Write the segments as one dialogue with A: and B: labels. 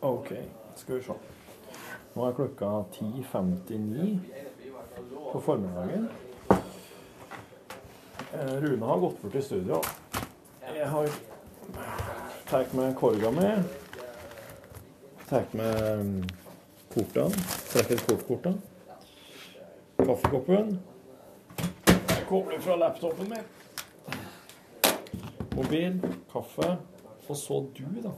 A: OK, skal vi se. Nå er klokka 10.59 på formiddagen. Eh, Rune har gått bort i studio. Jeg har tatt med korga mi. Tatt med mm, kortene. Trekker kortkortene. Kaffekoppen. Jeg kobler fra laptopen min. Mobil, kaffe. Og så du, da.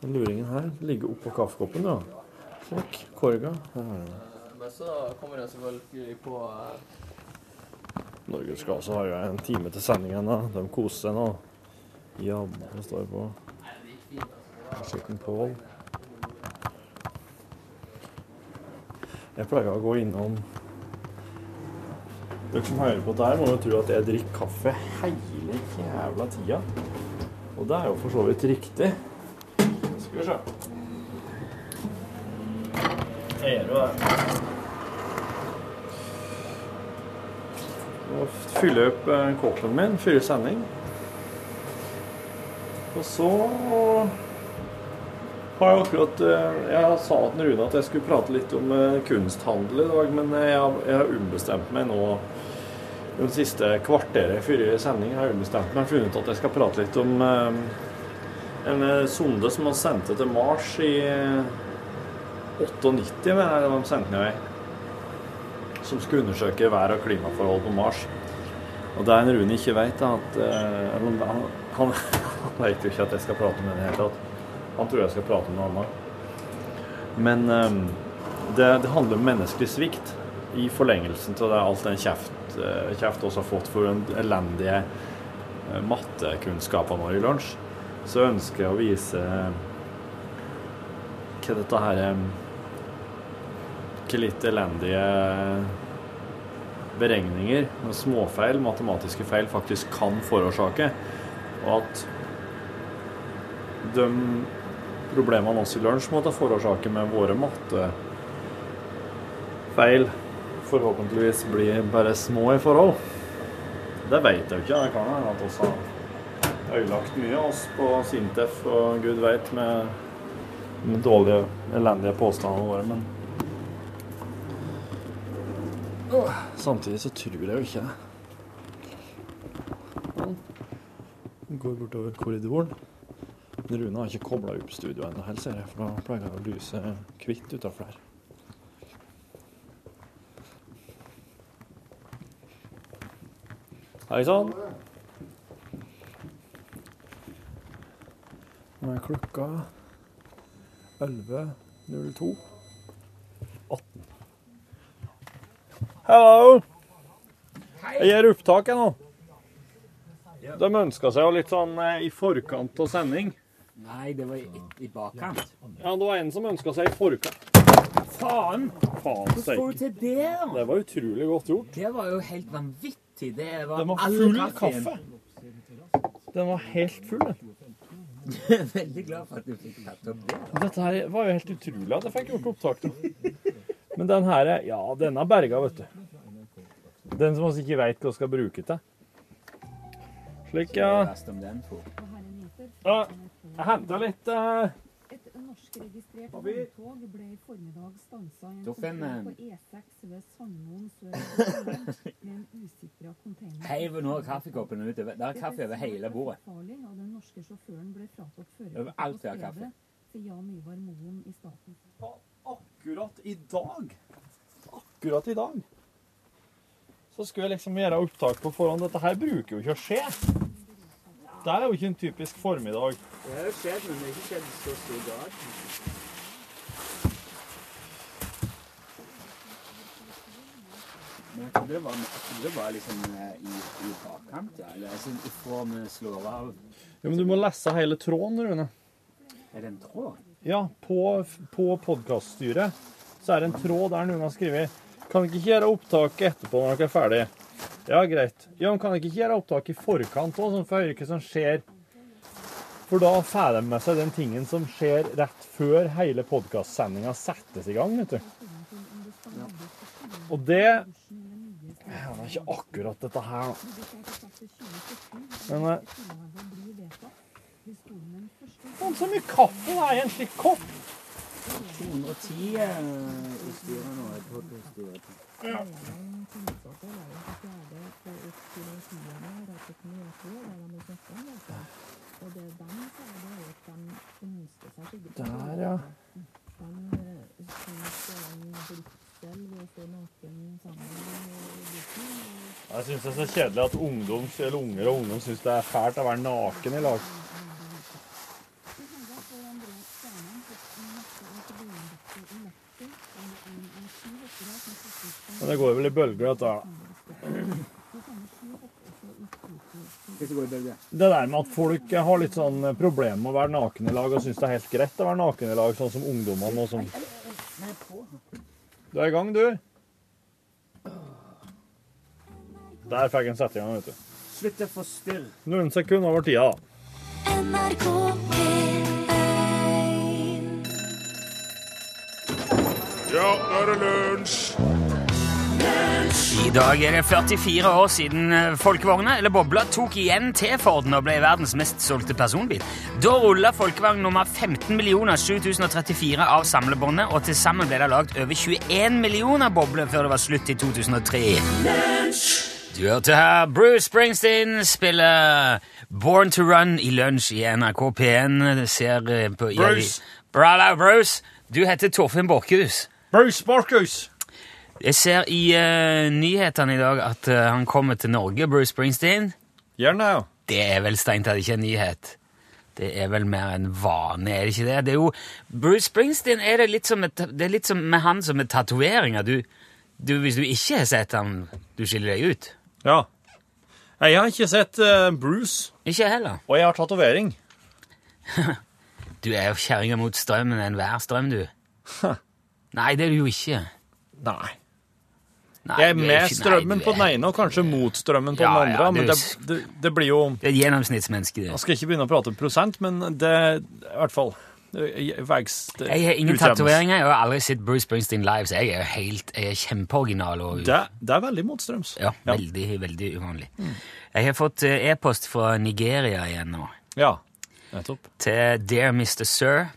A: Den luringen her ligger oppå kaffekoppen, da. Sjekk. Korga. Her har jeg den.
B: Men så kommer jeg selvfølgelig på eh,
A: Norge skal også ha en time til sending ennå. De koser seg nå. Jabba står det på. Kjøkken Pål. Jeg pleier å gå innom Dere som hører på dette, her må jo tro at jeg drikker kaffe hele jævla tida. Og det er jo for så vidt riktig. Skal vi se. Er du der? Og fylle opp eh, kåpen min, fylle sending. Og så har jeg akkurat eh, Jeg sa til Rune at jeg skulle prate litt om eh, kunsthandel i dag, men eh, jeg har- jeg har ombestemt meg nå. De siste kvarteret før sending har jeg ombestemt meg og funnet ut at jeg skal prate litt om eh, en eh, sonde som var sendt til Mars i eh, 98, mener jeg det var de sendte ned i som skulle undersøke vær- og klimaforhold på Mars. Og det en Rune ikke vet, er at eh, eller han, han, han vet jo ikke at jeg skal prate om det i det hele tatt. Han tror jeg skal prate om noe annet. Men eh, det, det handler om menneskelig svikt i forlengelsen av det, alt den kjeft, eh, kjeft også har fått for den elendige eh, mattekunnskapen vår i lunsj. Så ønsker jeg å vise eh, hva dette her eh, ikke litt elendige beregninger og småfeil, matematiske feil, faktisk kan forårsake. Og at de problemene oss i lunsj måtte forårsake med våre mattefeil, forhåpentligvis blir bare små i forhold. Det vet jeg jo ikke. Det kan hende at oss har ødelagt mye, oss på Sintef og gud veit med med dårlige, elendige påstander våre, men Samtidig så tror jeg jo ikke det. Han Går bortover korridoren. Rune har ikke kobla opp studioet ennå, helt ser jeg, for da pleier det å lyse hvitt utafor der. Hei sånn. sann. Nå er klokka 11.02. 18. Hello! Jeg gjør opptak jeg nå. De ønska seg jo litt sånn eh, i forkant av sending.
C: Nei, det var i, i bakkant.
A: Ja, det var en som ønska seg i forkant.
C: Faen!
A: Faen
C: Hvordan får du
A: steike.
C: til det, da?
A: Det var utrolig godt gjort.
C: Det var jo helt vanvittig. Det var,
A: Den var
C: all
A: full
C: kaffen.
A: kaffe. Den var helt full. den.
C: Veldig glad for at du fikk tatt opp det.
A: Dette her var jo helt utrolig at jeg fikk gjort opptak til. Men den her er- Ja, denne berga, vet du. Den som vi ikke veit hva skal bruke til. Slik, ja.
C: Last om den for.
A: Ja, Jeg henta litt eh,
D: Et norskregistrert vogntog ble i formiddag stansa i en
C: Da finner
D: kontroll på E6 ved Sandmoen sør for Trondheim med en usikra container.
C: Heiv nå kaffekoppen ut. over- Der er kaffe over hele bordet.
D: Farlig, og den norske sjåføren ble fratatt
C: Over
D: førerkortet
C: alt
D: på
C: er kaffe.
D: stedet, sier Jan Ivar Moen i staten.
A: akkurat i dag Akkurat i dag så skulle jeg liksom gjøre opptak på forhånd. Dette her bruker jo ikke å skje. Det er jo ikke en typisk formiddag.
C: Det har jo skjedd, men det har ikke skjedd så stor grad. Men jeg trodde det var, jeg trodde det var liksom eh, i, i bakkant, ja. Eller altså ifra vi slår av
A: Ja, men du må lese hele tråden, Rune.
C: Er det en tråd?
A: Ja, på, på podkaststyret så er det en tråd der noen har skrevet Kan dere ikke gjøre opptak etterpå når dere er ferdig? Ja, greit. Ja, men kan dere ikke gjøre opptak i forkant òg, sånn for å høre hva som skjer? For da får de med seg den tingen som skjer rett før hele podkastsendinga settes i gang, vet du. Og det ja, Det er ikke akkurat dette her, da. Men eh,
D: Tilhagen blir vedtatt. Hvis nordmenn først
A: Faen, så mye kaffe det er i en slik kopp!
C: 210 eh, i styret nå. Jeg tror det er styret.
D: Lederen tilsatte eleven på fjerde og opp til den tiende rett et møte der de vil snakke om dette. Og det de sa, det er jo at de ønsker seg skikkelig.
A: Der, ja.
D: De eh, synes det er en britsel ved å få noen sammen i bussen. og
A: Jeg syns det er så kjedelig at ungdom, eller unger og ungdom syns det er fælt å være naken i lag.
D: I helga får Andreas Stjernen fått en masse av Koblinbakke i Mexico, og en av sju hoppere som faktisk
A: Men det går vel i bølger, dette. her, da.
C: Hva skal gå i bølge?
A: Det der med at folk har litt sånn problemer med å være naken i lag, og syns det er helt greit å være naken i lag, sånn som ungdommene nå som
C: Nei, på.
A: Du er i gang, du. Der fikk han sette i gang, vet du.
C: Slutt å forstyrre.
A: Noen sekunder over tida, da.
E: NRK P1
F: Ja, nå er det lunsj!
G: I dag er det 44 år siden eh, folkevogna, eller bobla, tok igjen T-Forden og ble verdens mest solgte personbil. Da rulla folkevogn nummer 15 7034 av samlebåndet, og til sammen ble det lagd over 21 millioner bobler før det var slutt i 2003. Du hørte her Bruce Springsteen spille Born to Run i lunsj i NRK P1. Det Ser eh, på i-
A: Bruce.
G: Bravo, Bruce! Du heter Torfinn Borchhus.
A: Bruce Marcus!
G: Jeg ser i eh, nyhetene i dag at eh, han kommer til Norge, Bruce Springsteen.
A: Gjerne, ja.
G: Det er vel strengt tatt ikke en nyhet. Det er vel mer en vane, er det ikke det? det er jo, Bruce Springsteen er det litt som, et, det er litt som med han som med tatoveringer. Du, du, hvis du ikke har sett han, du skiller deg ut.
A: Ja. Jeg har ikke sett eh, Bruce.
G: Ikke jeg heller.
A: Og jeg har tatovering.
G: Du er jo kjerringa mot strømmen enhver strøm, du. Nei, det er du jo ikke.
A: Nei.
G: Nei,
A: Jeg er
G: du
A: med
G: ikke- nei,
A: strømmen
G: du
A: på
G: er-
A: den ene og kanskje mot strømmen på
G: Ja,
A: den andre.
G: ja,
A: men
G: du-
A: det, det, det blir jo
G: Du er et gjennomsnittsmenneske, du.
A: Jeg skal ikke begynne å prate om prosent, men det I hvert fall eh, Vegs
G: Jeg har ingen tatoveringer, jeg har aldri sett Bruce Springsteen live, så jeg er jo helt, jeg er kjempeoriginal og
A: Det, det er veldig motstrøms.
G: ja, veldig, veldig uvanlig.
A: Mm.
G: Jeg har fått eh, e-post fra Nigeria igjen nå,
A: Ja. Nettopp.
G: til Dear Mr. Sir,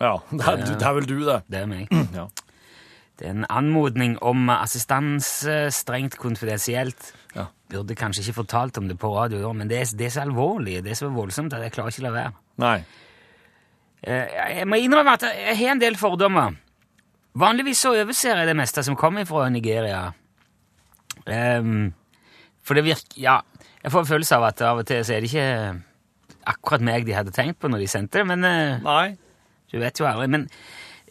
A: Ja, det er, det er vel du, det.
G: det er meg.
A: Ja.
G: Det er en anmodning om assistanse, strengt konfidensielt.
A: Ja.
G: Burde kanskje ikke fortalt om det på radio, da, men det er, det er så alvorlig, det er så voldsomt at jeg klarer ikke å la være.
A: Nei.
G: Eh, Jeg må innrømme at jeg har en del fordommer. Vanligvis så overser jeg det meste som kommer fra Nigeria. Ehm, for det virker Ja, jeg får en følelse av at av og til så er det ikke akkurat meg de hadde tenkt på når de sendte det, men eh,
A: Nei.
G: du vet jo aldri. Men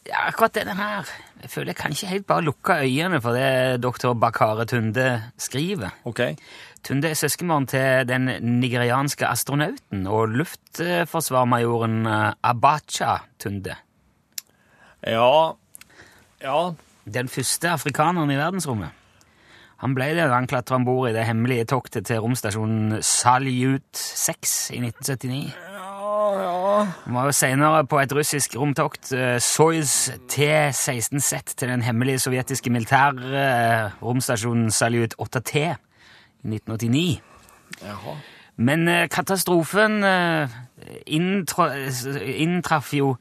G: ja, akkurat denne her Jeg føler jeg kan ikke helt bare lukke øynene for det doktor Bakare Tunde skriver.
A: OK.
G: Tunde er søskenbarn til den nigerianske astronauten og luftforsvarmajoren eh, Abacha Tunde.
A: Ja. Ja.
G: Den første afrikaneren i verdensrommet. Han ble det da han klatra om bord i det hemmelige toktet til romstasjonen Saljut 6 i 1979. Han var jo senere på et russisk romtokt, eh, Soyuz T-16Z, til den hemmelige sovjetiske militære eh, romstasjonen Saljut 8T i 1989.
A: Jaha.
G: Men eh, katastrofen eh, inntro- eh, inntraff jo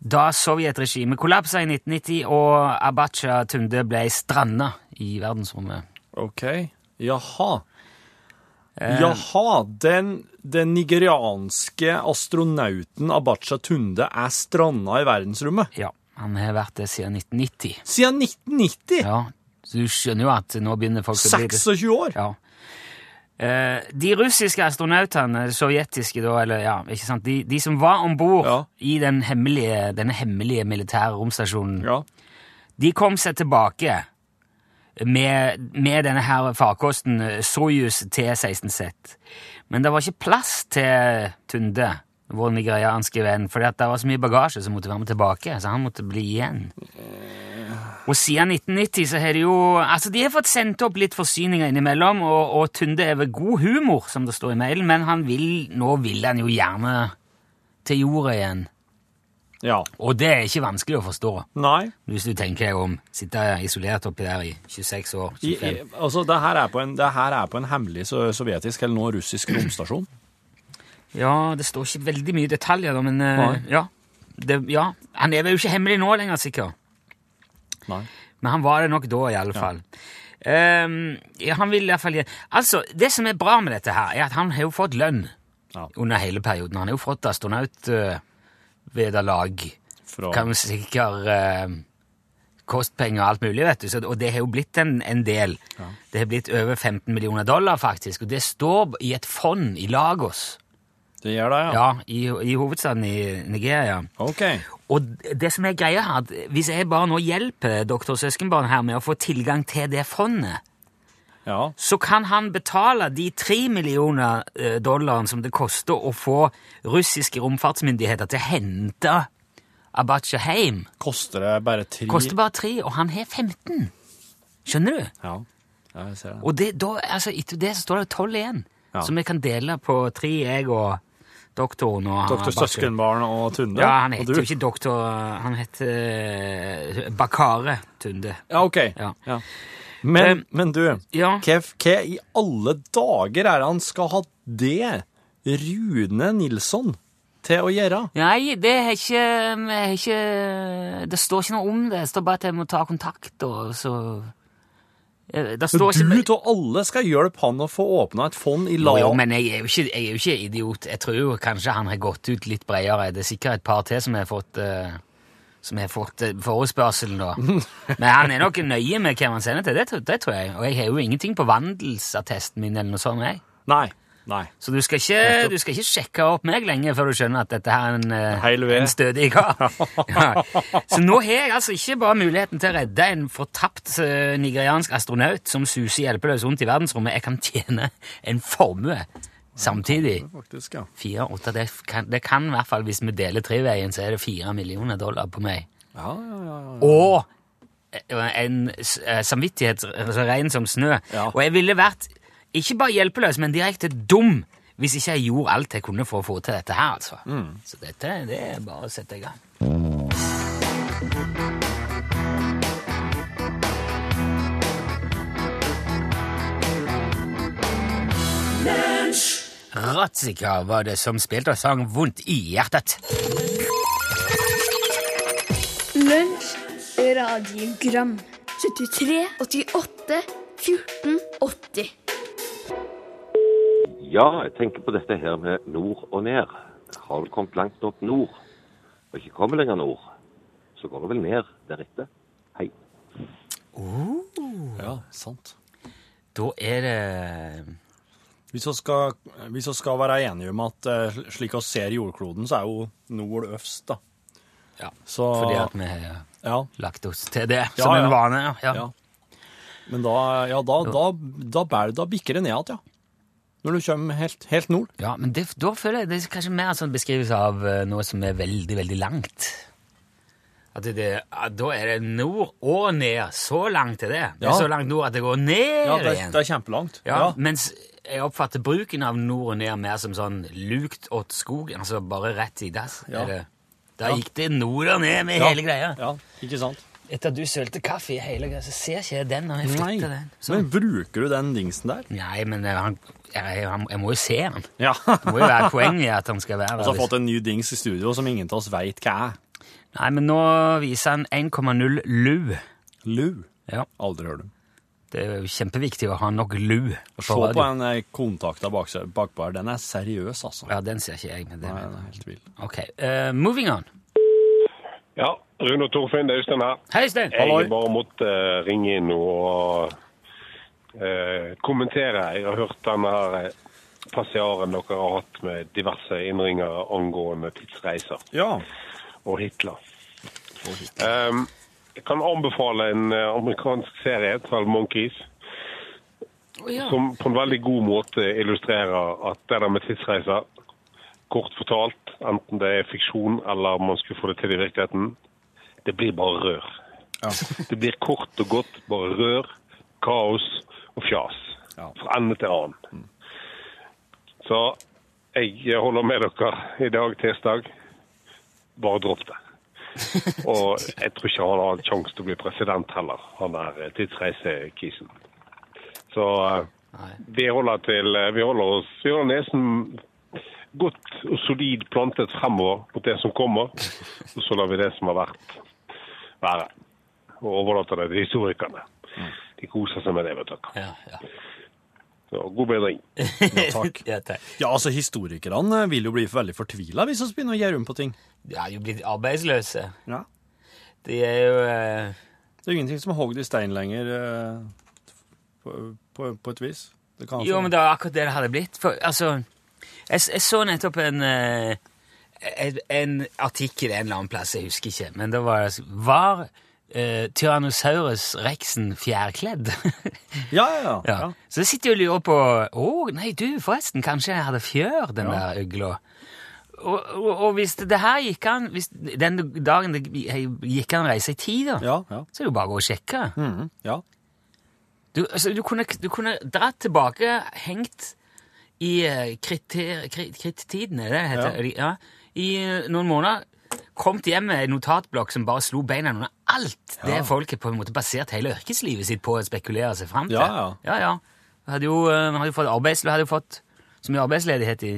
G: da sovjetregimet kollapsa i 1990, og Abacha Tunde ble stranda i verdensrommet.
A: OK. Jaha.
G: Eh.
A: Jaha. Den, den nigerianske astronauten Abacha Tunde er stranda i verdensrommet.
G: Ja, Han har vært det siden 1990.
A: Siden 1990!
G: Ja, Så du skjønner jo at nå begynner folk å bli litt-
A: 26 år!
G: Ja. Eh, de russiske astronautene, sovjetiske da, eller ja, ikke sant, de, de som var om bord
A: Ja.
G: i den hemmelige, denne hemmelige militære romstasjonen,
A: Ja.
G: De kom seg tilbake med, med denne her farkosten eh, Soyuz T-16Z. Men det var ikke plass til Tunde, vår nigerianske venn, fordi at det var så mye bagasje som måtte være med tilbake, så han måtte bli igjen. Og siden 1990 så har de jo Altså, de har fått sendt opp litt forsyninger innimellom, og, og Tunde er ved god humor, som det står i mailen, men han vil, nå vil han jo gjerne til jorda igjen.
A: ja.
G: Og det er ikke vanskelig å forstå.
A: Nei.
G: Hvis du tenker deg om, sitte isolert oppi der i 26 år,
A: I, i,
G: 25
A: altså, det her, er på en, det her er på en hemmelig so- sovjetisk, eller nå russisk, romstasjon.
G: Ja, det står ikke veldig mye detaljer, da, men eh,
A: Nei.
G: ja. Det, ja. Han er vel jo ikke hemmelig nå lenger, sikkert.
A: Nei.
G: Men han var det nok da, i alle fall. Ehm, ja, han vil i hvert fall gi- Altså, det som er bra med dette her, er at han har jo fått lønn
A: Ja.
G: under hele perioden. Han har jo fått astronautvederlag,
A: Fra
G: kan jo sikkert eh, kostpenger og alt mulig, vet du. Så, og det har jo blitt en, en del. Det har blitt over 15 millioner dollar, faktisk. Og det står i et fond i Lagos,
A: Det gjør det, ja?
G: ja, i, i hovedstaden i Nigeria.
A: Ok.
G: Og det som er greia her, at hvis jeg bare nå hjelper doktor Søskenbarn her med å få tilgang til det fondet,
A: Ja.
G: så kan han betale de tre millioner eh, dollarene som det koster å få russiske romfartsmyndigheter til å hente Abacha hjem.
A: Koster det bare tre
G: Koster bare tre, og han har 15. Skjønner du?
A: Ja, ja jeg ser det.
G: Og det, da, altså, etter det så står det 12 igjen,
A: Ja.
G: som vi kan dele på tre, jeg og doktoren og
A: Doktor
G: Abacha.
A: Søskenbarn og Tunde?
G: Ah, Ja, han
A: og
G: heter
A: du?
G: jo ikke doktor, han heter eh, Bakare Tunde.
A: Ja, ok.
G: Ja.
A: Ja. Men,
G: Eh,
A: men du,
G: ja.
A: hva, hva i alle dager er det han skal ha det Rune Nilsson til å gjøre?
G: Nei, det er ikke, um, er ikke Det står ikke noe om det. Det står bare at jeg må ta kontakt, og så Eh, Det
A: Du
G: står ikke
A: til alle skal hjelpe han å få åpna et fond i
G: jo,
A: LAO.
G: jo, men jeg er jo, ikke, jeg er jo ikke idiot. Jeg tror jo kanskje han har gått ut litt bredere. Det er sikkert et par til som har fått, eh, som har fått eh, forespørselen, da. Men han er nok nøye med hvem han sender til. Det, tror- det tror jeg. Og jeg har jo ingenting på vandelsattesten min eller noe sånt. Jeg.
A: Nei. Nei.
G: Så du skal, ikke, du skal ikke sjekke opp meg lenge før du skjønner at dette her er en, eh,
A: Heil ved.
G: en stødig kar. Ja. Så nå har jeg altså ikke bare muligheten til å redde en fortapt eh, nigeriansk astronaut som suser hjelpeløs rundt i verdensrommet, jeg kan tjene en formue samtidig.
A: Faktisk, ja.
G: Fire, åtte, det kan, det kan i hvert fall, hvis vi deler treveien, så er det fire millioner dollar på meg.
A: Ja, ja, ja, ja.
G: Og en s- eh, samvittighet så ren som snø.
A: Ja.
G: Og jeg ville vært ikke bare hjelpeløs, men direkte dum hvis ikke jeg gjorde alt jeg kunne for å få til dette her, altså.
A: Mm.
G: Så dette det er bare å sette i gang. Ratzika var det som spilte og sang Vondt i hjertet.
E: Lunsj radiogram 73 88 14 80
H: Ja, jeg tenker på dette her med nord og ned. Har du kommet langt nok nord, og ikke kommer lenger nord, så går du vel ned deretter. Hei.
A: ja sant.
G: Oh. Da er det
A: Hvis vi skal, hvis vi skal være enige om at eh, sl- slik vi ser jordkloden, så er jo nord øvst, da.
G: Ja,
A: Så,
G: fordi at vi har
A: ja,
G: lagt oss til det
A: Ja,
G: som en
A: ja.
G: vane. Ja. Ja.
A: ja. Men da, ja, da, da, da, bærer- da bikker det ned igjen, ja. Når du kommer helt, helt nord.
G: Ja, men det, da føler jeg det er kanskje mer en sånn beskrivelse av eh, noe som er veldig, veldig langt. At det, det, at da er det nord og ned. Så langt er det. Det er
A: Ja.
G: så langt nord at det går ned
A: Ja, det,
G: igjen.
A: det er kjempelangt.
G: ja, Mens jeg oppfatter bruken av nord og ned mer som sånn lukt åt skogen. Altså bare rett i dass.
A: Ja.
G: Er det- Da
A: Ja.
G: gikk det nord og ned med
A: Ja.
G: hele greia.
A: Ja, ikke sant?
G: Etter at du sølte kaffe i hele greia, så ser ikke jeg den når jeg
A: Nei.
G: flytter den. Sånn.
A: Men bruker du den dingsen der?
G: Nei, men eh, han, jeg, han, jeg må jo se han.
A: Ja.
G: Det må jo være poenget at han skal være der. liksom.
A: Og så har jeg fått en ny dings i studio som ingen av oss veit hva er.
G: Nei, men nå viser han 1,0 lu.
A: Lu.
G: Ja,
A: Aldri hørt om.
G: det er jo kjempeviktig å ha nok lu.
A: Se
G: radio.
A: på den eh, kontakta bak, bakpå her. Den er seriøs, altså.
G: Ja, den ser ikke jeg, men det
A: Nei, den er helt vill.
G: Ok, eh, moving on.
I: Ja, Rune og Torfinn, det er Øystein her.
G: Hei, Stein!
I: Jeg bare måtte eh, ringe inn og eh, kommentere. Jeg har hørt denne her eh, passiaren dere har hatt med diverse innringere angående tidsreiser
A: Ja.
I: og Hitler. Ehm, jeg kan anbefale en eh, amerikansk serie, 12 Monkeys,
G: Å, ja.
I: som på en veldig god måte illustrerer at det der med tidsreiser, kort fortalt, enten det er fiksjon eller man skulle få det til i virkeligheten, det blir bare rør. Det blir kort og godt bare rør, kaos og fjas.
A: Ja.
I: Fra ende til annen. Så jeg holder med dere i dag, tirsdag. Bare dropp det. Og jeg tror ikke han har en sjanse til å bli president heller, han der eh, tidsreisekisen. Så eh,
G: Nei.
I: vi holder, til, eh, vi holder oss Vi holder nesen godt og solid plantet fremover mot det som kommer. Og så lar vi det som har vært, være. Og overlater det til historikerne. De koser seg med det, vet dere.
G: Mm. Ja, ja.
I: Så god bedring.
A: Ja, takk.
G: Ja, takk.
A: Ja, altså, historikerne vil jo bli veldig fortvila hvis vi begynner å gjøre om på ting.
G: De er jo blitt arbeidsløse.
A: Ja.
G: De er jo eh,
A: Det er jo ingenting som er hogd i stein lenger, eh, på, på, på et vis. Det kan altså
G: Jo, men det var akkurat det det hadde blitt. For, altså, jeg, jeg så nettopp en, eh, en, en artikkel en eller annen plass, jeg husker ikke, men det var Var eh, Tyrannosaurus rexen fjærkledd?
A: Ja, ja, ja.
G: ja. Så sitter jeg og lurer på Å, nei, du, forresten, kanskje jeg hadde fjør, den der øgla. Og, og, og hvis det her gikk an hvis Den dagen det gikk an å reise i tid, da,
A: Ja, ja.
G: så er det jo bare å gå og sjekke.
A: Mhm, ja.
G: Du, altså, du, kunne, du kunne dratt tilbake, hengt i eh, kriter- kri- krittiden, er det det heter?
A: Ja.
G: Eller- Ja. I eh, noen måneder. Kommet hjem med en notatblokk som bare slo beina under alt det folk har på en måte basert hele yrkeslivet sitt på å spekulere seg fram til.
A: Ja,
G: ja. ja. Du hadde jo, eh, hadde jo fått arbeids, du hadde jo fått så mye arbeidsledighet i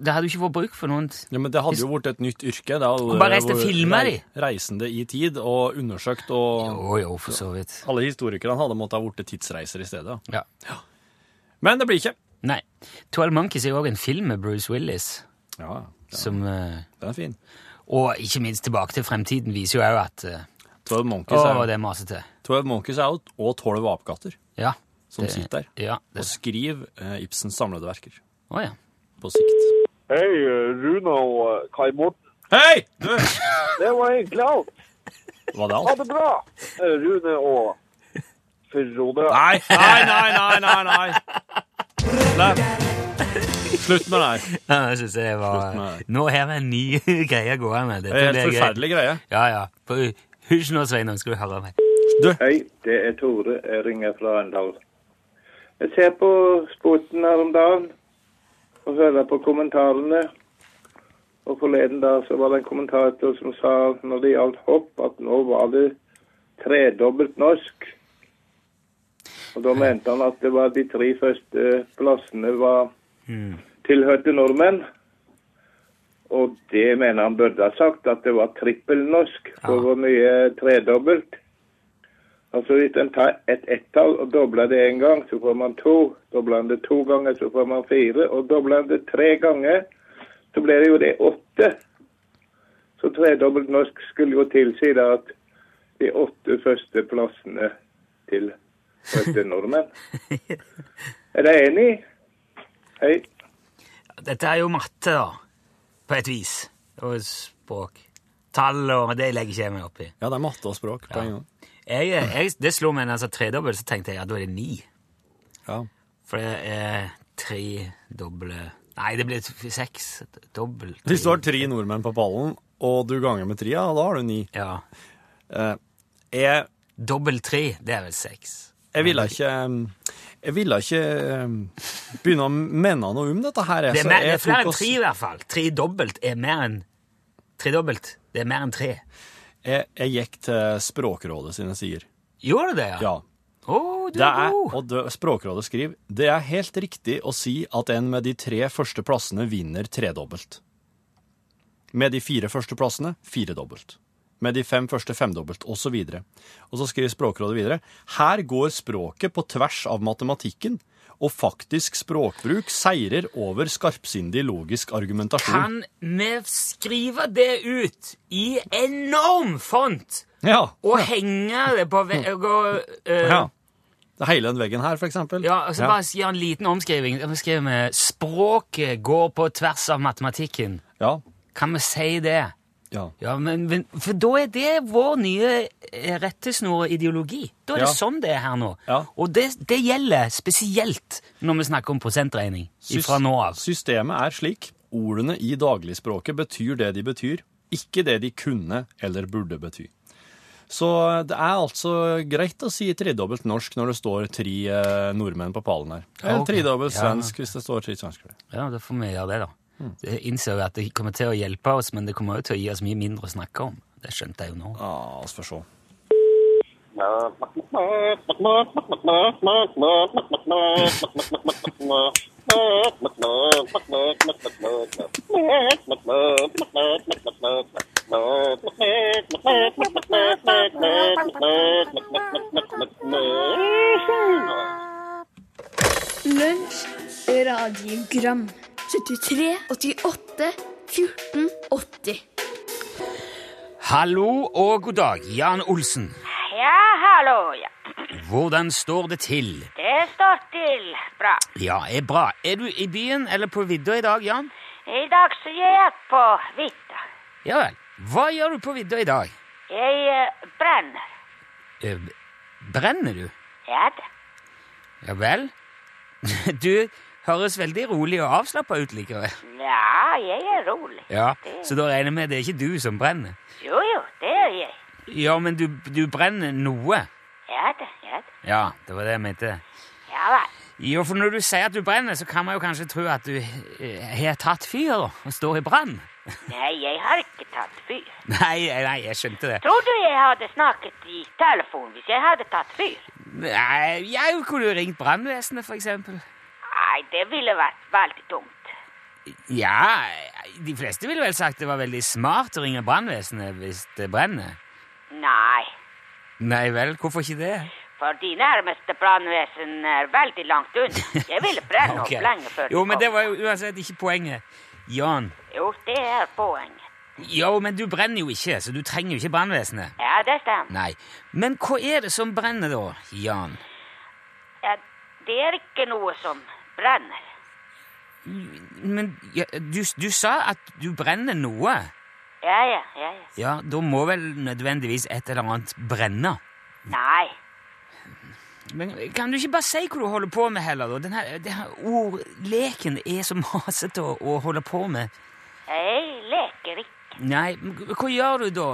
G: Da hadde du ikke fått bruk for noen
A: Ja, men det hadde jo blitt et nytt yrke. Det hadde
G: Og bare reiste
A: vært
G: filmer,
A: rei-
G: de.
A: Reisende i tid og undersøkt, og
G: Jo, jo, for så vidt.
A: alle historikerne hadde måttet ha blitt tidsreiser i stedet.
G: Ja.
A: Men det blir ikke.
G: Nei. 12 Monkeys er jo òg en film med Bruce Willis
A: Ja,
G: som eh,
A: den er fin.
G: Og ikke minst Tilbake til fremtiden viser jo òg at eh,
A: 12 Monkeys
G: Å,
A: er,
G: det er masete.
A: 12 Monkeys er out, og 12 apekatter
G: Ja.
A: som
G: det-
A: sitter der.
G: Ja.
A: Og
G: Det,
A: skriver eh, Ibsens samlede verker
G: å, ja.
A: på sikt.
I: Hei, Rune og eh, Kai Morten.
A: Hei! Du!
I: Det var egentlig alt.
A: Var det alt?
I: det bra, Rune og Frode.
A: Nei, nei, nei, nei, nei, nei. Slepp. Slutt med det her.
G: Ja, Jeg synes det
A: Slutt med
G: var
A: det.
G: Nå har vi en ny greie gående. Dette
A: Det er en
G: blir
A: helt
G: gøy.
A: forferdelig greie.
G: Ja, ja. For- Hysj nå, Sveinung, skal du høre meg.
J: Hei, det er Tore. Jeg ringer fra Arendal. Jeg ser på sporten her om dagen og følger på kommentarene. Og forleden da så var det en kommentator som sa når det gjaldt hopp, at nå var det tredobbelt norsk. Og da mente han at det var de tre første plassene var tilhørte nordmenn. Og det mener han burde ha sagt, at det var trippelnorsk. For hvor mye tredobbelt? Altså hvis en tar et ett-tall og dobler det én gang, så får man to. Dobler en det to ganger, så får man fire. Og dobler en det tre ganger, så blir det jo det åtte. Så tredobbelt norsk skulle jo tilsi da at de åtte første plassene til første nordmenn. Er dere enig? Hei.
G: Dette er jo matte, da. På et vis. Og språk. Tall og men Det legger ikke jeg meg opp i.
A: Ja, det er matte og språk på en gang.
G: Jeg, eh, jeg, det slo meg når jeg sa tredobbelt, så tenkte jeg at da er det ni.
A: Ja.
G: For det er tre doble Nei, det blir seks. Dobbelt.
A: Hvis du har tre nordmenn på pallen, og du ganger med tria, da har du ni.
G: Ja.
A: Eh, jeg,
G: Dobbelt tre, det er vel seks.
A: jeg ville ikke um, Jeg ville ikke um, begynne å mene noe om dette her. jeg,
G: Det
A: så
G: er, mer, det
A: jeg
G: er flere
A: tok
G: enn
A: oss-
G: tre, i hvert fall. Tre dobbelt er mer enn Tre dobbelt, det er mer enn tre.
A: Jeg, jeg gikk til Språkrådet sine sider.
G: Gjorde du det, ja?
A: Ja.
G: Å, du
A: Det er,
G: er god!
A: og det, Språkrådet skriver det er helt riktig å si at en med de tre første plassene vinner tredobbelt. Med de fire første plassene firedobbelt. Med de fem første femdobbelt, og så videre. Og så skriver Språkrådet videre her går språket på tvers av matematikken, og faktisk språkbruk seirer over skarpsindig logisk argumentasjon.
G: Kan vi skrive det ut i enorm font
A: Ja.
G: og henge det på ve og, eh,
A: ja. Det er Hele den veggen her, for eksempel.
G: Ja, altså
A: ja.
G: Bare gi en liten omskriving. Vi skriver med 'Språket går på tvers av matematikken'.
A: ja.
G: Kan vi si det?
A: ja.
G: Ja, men, men, For da er det vår nye eh, rettesnor og ideologi. Da er
A: Ja.
G: det sånn det er her nå.
A: Ja.
G: Og det, det gjelder spesielt når vi snakker om prosentregning fra nå av.
A: Systemet er slik. Ordene i dagligspråket betyr det de betyr, ikke det de kunne eller burde bety. Så det er altså greit å si tredobbelt norsk når det står tre eh, nordmenn på pallen her. Eller
G: Ja, ok.
A: tredobbelt
G: Ja.
A: svensk hvis det står Hmm. tre svensker.
G: Ja, da får vi gjøre det, da. Jeg innser jo at det kommer til å hjelpe oss, men det kommer også til å gi oss mye mindre å snakke om. Det skjønte jeg jo nå.
A: Ja, vi Ah, får se.
E: Lunsj, radiogram 73 88 14 80
G: Hallo og god dag, Jan Olsen.
K: Ja, hallo, ja.
G: Hvordan står det til?
K: Det står til bra.
G: Ja, er bra. Er du i byen eller på vidda i dag, Jan?
K: I dag så jeg er på Vita.
G: Ja vel. Hva gjør du på vidda i dag?
K: Jeg eh, brenner.
G: Eh, Brenner du?
K: Ja da.
G: Ja vel. Du høres veldig rolig og avslappa ut likevel.
K: Ja, jeg er rolig.
G: Ja, Så da regner jeg med det er ikke du som brenner?
K: Jo, jo, det er jeg.
G: Ja, men du, du brenner noe.
K: Ja da, ja da.
G: Ja, det var det jeg mente.
K: Ja vel.
G: Jo, for når du sier at du brenner, så kan man jo kanskje tro at du eh, har tatt fyr og står i brann.
K: Nei, jeg har ikke tatt fyr.
G: Nei, nei, jeg skjønte det.
K: Tror du jeg hadde snakket i telefon hvis jeg hadde tatt fyr?
G: Nei, jeg kunne jo ringt brannvesenet, for eksempel.
K: Nei, det ville vært veldig dumt.
G: Ja, de fleste ville vel sagt det var veldig smart å ringe brannvesenet hvis det brenner.
K: Nei,
G: Nei vel, hvorfor ikke det?
K: for de nærmeste brannvesen er veldig langt unna. Jeg ville brenne
G: Ok.
K: opp lenge før
G: Jo, men det var jo uansett ikke poenget. Jan,
K: Jo, det er poenget.
G: jo, men du brenner jo ikke, så du trenger jo ikke brannvesenet.
K: Ja, det stemmer.
G: Nei, men hva er det som brenner da, Jan?
K: Ja, det er ikke noe som brenner.
G: Men ja, du, du sa at du brenner noe.
K: Ja, ja, ja, ja.
G: Ja, da må vel nødvendigvis et eller annet brenne.
K: Nei.
G: Men kan du ikke bare si hva du holder på med heller, da? Denne, denne ordleken er så masete å, å holde på med.
K: Jeg leker ikke.
G: Nei, men hva gjør du da?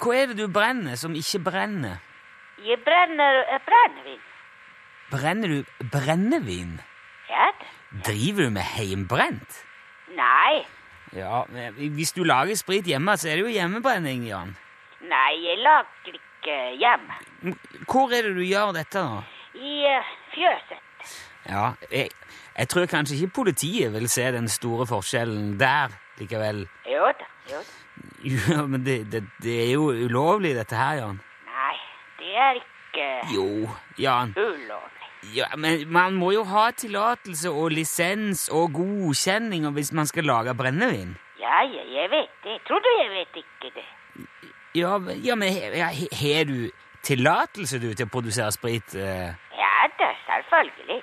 G: Hva er det du brenner som ikke brenner?
K: Jeg brenner eh, brennevin.
G: Brenner du brennevin?
K: Ja, da.
G: Driver du med heimbrent?
K: nei.
G: Ja, men hvis du lager sprit hjemme, så er det jo hjemmebrenning, Jan.
K: Nei, jeg lager ikke hjemme.
G: Men Hvor er det du gjør dette, da?
K: I eh, fjøset.
G: Ja, jeg, jeg tror kanskje ikke politiet vil se den store forskjellen der likevel.
K: Jo da, jo da.
G: Jo, men det, det, det er jo ulovlig, dette her, Jan.
K: Nei, det er ikke
G: Jo, Jan.
K: ulovlig.
G: Ja, men man må jo ha tillatelse og lisens og godkjenning og hvis man skal lage brennevin.
K: Ja, ja, jeg vet det. Tror du jeg vet ikke det?
G: Ja, men- ja men he- ja, he- har du tillatelse du til å produsere sprit? eh?
K: Ja da, selvfølgelig.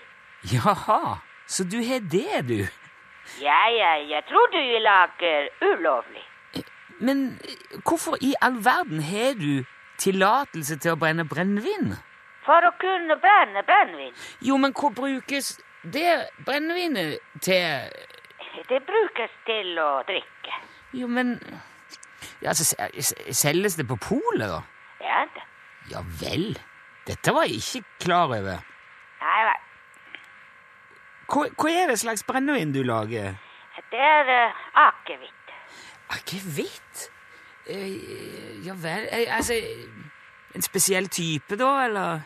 G: Jaha, så du har det, du.
K: Ja, ja, jeg tror du jeg lager ulovlig.
G: Men eh, hvorfor i all verden har du tillatelse til å brenne brennevin?
K: For å kunne brenne brennevin.
G: Jo, men hva brukes det brennevinet til?
K: Det brukes til å drikke.
G: Jo, men ja, altså, se- se- Selges det på polet, da?
K: Ja da.
G: Ja vel. Dette var jeg ikke klar over.
K: Nei vel.
G: Hva, hva er det slags brennevin du lager?
K: Det er uh, akevitt.
G: Akevitt? Eh, ja vel eh, Altså En spesiell type, da, eller?